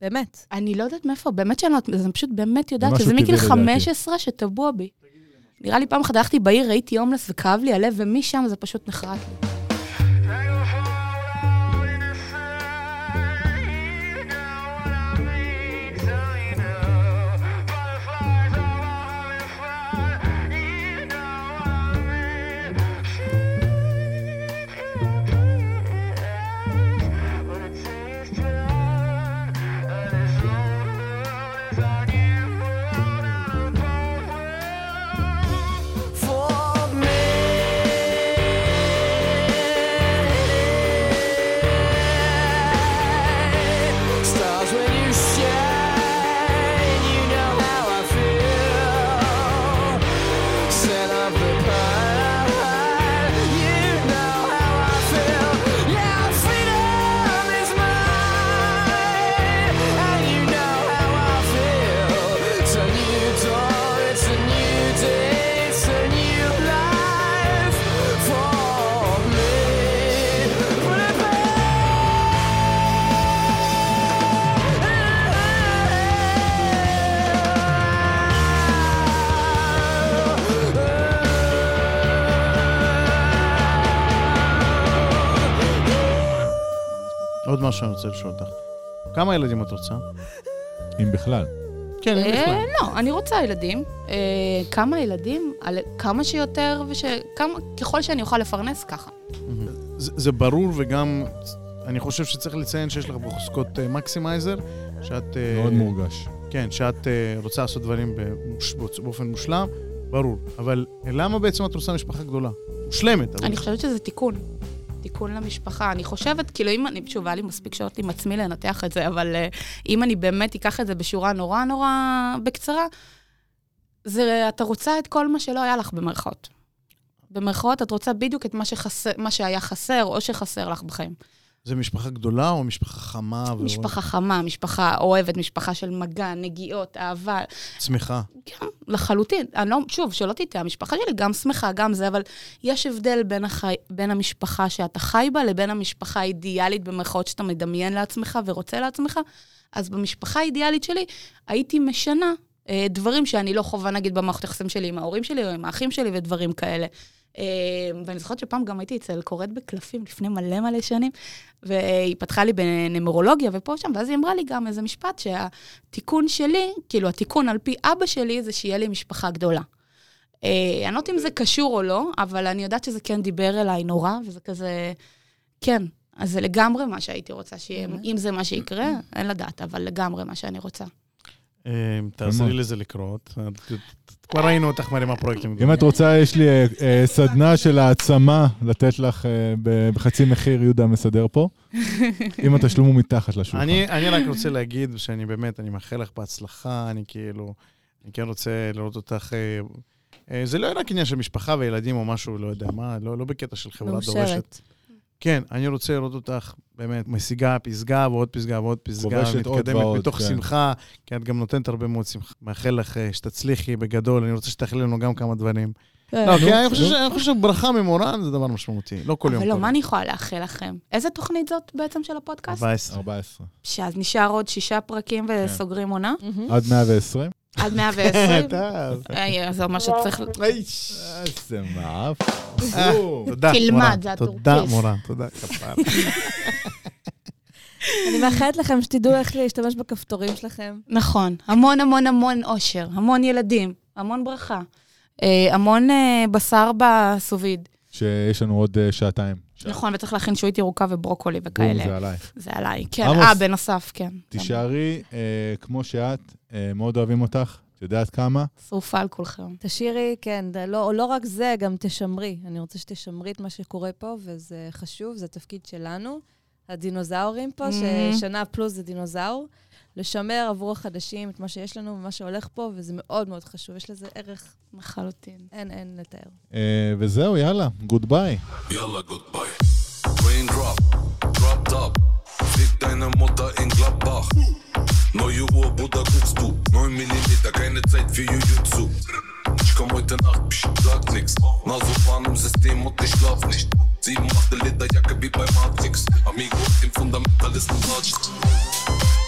באמת. אני לא יודעת מאיפה, באמת שאני לא יודעת, אני פשוט באמת יודעת משהו שזה מגיל טבעי לדעתי. 15 שטבוע בי. נראה לי פעם אחת הלכתי בעיר, ראיתי הומלס וכאב לי הלב, ומשם זה פשוט נחרט לי. For me. Stars when you shine, you know how I feel. Set up the pile, you know how I feel. Yeah, freedom is mine, and you know how I feel. It's a new dawn, it's a new day, it's a new life for me. Put it back. עוד משהו שאני רוצה לשאול אותך. כמה ילדים את רוצה? אם בכלל. כן, אין אה, בכלל. לא, אני רוצה ילדים. אה, כמה ילדים, על- כמה שיותר, וש- כמה- ככל שאני אוכל לפרנס, ככה. זה זה ברור וגם, אני חושב שצריך לציין שיש לך בחוזקות אה, מקסימייזר, שאת... אה, מאוד מורגש. כן, שאת אה, רוצה לעשות דברים במוש- באופ- באופן מושלם, ברור. אבל אה, למה בעצם את רוצה משפחה גדולה? מושלמת, אבל... אני חושבת שזה תיקון. תיקון למשפחה. אני חושבת, כאילו, אם אני, שוב, היה לי מספיק שעות עם עצמי לנתח את זה, אבל אה, אם אני באמת אקח את זה בשורה נורא נורא בקצרה, זה, אתה רוצה את כל מה שלא היה לך, במרכאות. במרכאות, את רוצה בדיוק את מה, שחסר, מה שהיה חסר, או שחסר לך בחיים. זה משפחה גדולה או משפחה חמה? ואוהבת? משפחה חמה, משפחה אוהבת, משפחה של מגע, נגיעות, אהבה, צמיחה. כן, לחלוטין. אני לא, שוב, שלא תטעה, המשפחה שלי גם שמחה, גם זה, אבל יש הבדל בין, החי, בין המשפחה שאתה חי בה לבין המשפחה האידיאלית, במרכאות שאתה מדמיין לעצמך ורוצה לעצמך. אז במשפחה האידיאלית שלי הייתי משנה אה, דברים שאני לא חווה, נגיד, במערכת היחסים שלי עם ההורים שלי או עם האחים שלי ודברים כאלה. אה, ואני זוכרת שפעם גם הייתי אצל קוראת בקלפים לפני מלא מלא שנים, והיא פתחה לי בנמרולוגיה ופה ושם, ואז היא אמרה לי גם איזה משפט שהתיקון שלי, כאילו התיקון על פי אבא שלי, זה שיהיה לי משפחה גדולה. אה, אני לא יודעת אם זה קשור או לא, אבל אני יודעת שזה כן דיבר אליי נורא, וזה כזה, כן. אז זה לגמרי מה שהייתי רוצה שיהיה, אוקיי. אם זה מה שיקרה, אין לדעת, אבל לגמרי מה שאני רוצה. אה, תעזרי לזה לקרות. את- את- כבר ראינו אותך מרימה פרויקטים אם גדולים. את רוצה, יש לי אה, אה, סדנה של העצמה לתת לך אה, ב- בחצי מחיר, יהודה מסדר פה, אם התשלום הוא מתחת לשולחן. אני, אני רק רוצה להגיד שאני באמת, אני מאחל לך בהצלחה, אני כאילו, אני כן רוצה לראות אותך... אה, אה, זה לא רק עניין של משפחה וילדים או משהו, לא יודע מה, לא, לא בקטע של חברה דורשת. מאושרת. כן, אני רוצה לראות אותך באמת משיגה פסגה ועוד פסגה ועוד פסגה, כובשת עוד מתקדמת ועוד, מתוך כן. שמחה, כי את גם נותנת הרבה מאוד שמחה. מאחל לך אה, שתצליחי בגדול, אני רוצה שתאכלי לנו גם כמה דברים. אה, כן. לא, כי אני חושב ש- אני חושב שברכה ממורן זה דבר משמעותי, לא כל יום. אבל לא, קורה. מה אני יכולה לאחל לכם? איזה תוכנית זאת בעצם של הפודקאסט? 14. 14. כן. שאז נשאר עוד שישה פרקים וסוגרים עונה? מהמם. עד 120? עד 120? אתה- אה, זה אומר שצריך... איזה אה. מעפור. תודה, תלמד, מורה. זה תודה, הטורקיז. מורה. תודה, כפר. אני מאחלת לכם שתדעו איך להשתמש בכפתורים שלכם. נכון. המון המון המון אושר, המון ילדים, המון ברכה, אה, המון אה, בשר בסוביד. שיש לנו עוד אה, שעתיים. נכון, וצריך להכין שועית ירוקה וברוקולי בום, וכאלה. זה עלייך. זה עליי, כן. עמוס. אה, בנוסף, כן. תישארי אה, כמו שאת, אה, מאוד אוהבים אותך, את יודעת כמה. שרופה על כולכם. תשאירי, כן, ד- לא, לא רק זה, גם תשמרי. אני רוצה שתשמרי את מה שקורה פה, וזה חשוב, זה התפקיד שלנו. הדינוזאורים פה, Mhm. ששנה פלוס זה דינוזאור, לשמר עבור החדשים את מה שיש לנו ומה שהולך פה, וזה מאוד מאוד חשוב. יש לזה ערך, לחלוטין. אין, אין לתאר. אה, וזהו, יאללה, גוד ביי. Yalla goodbye. Raindrop, drop top. Fick deine Mutter in Gladbach. Neue Uhr, Bruder, guckst du. 9 mm, keine Zeit für Jujutsu. Ich komm heute Nacht, psch, sag nix. Nase fahren im System und ich schlaf nicht. 7, 8 Liter Jacke wie bei Matrix. Amigo, im Fundamentalisten Arsch. um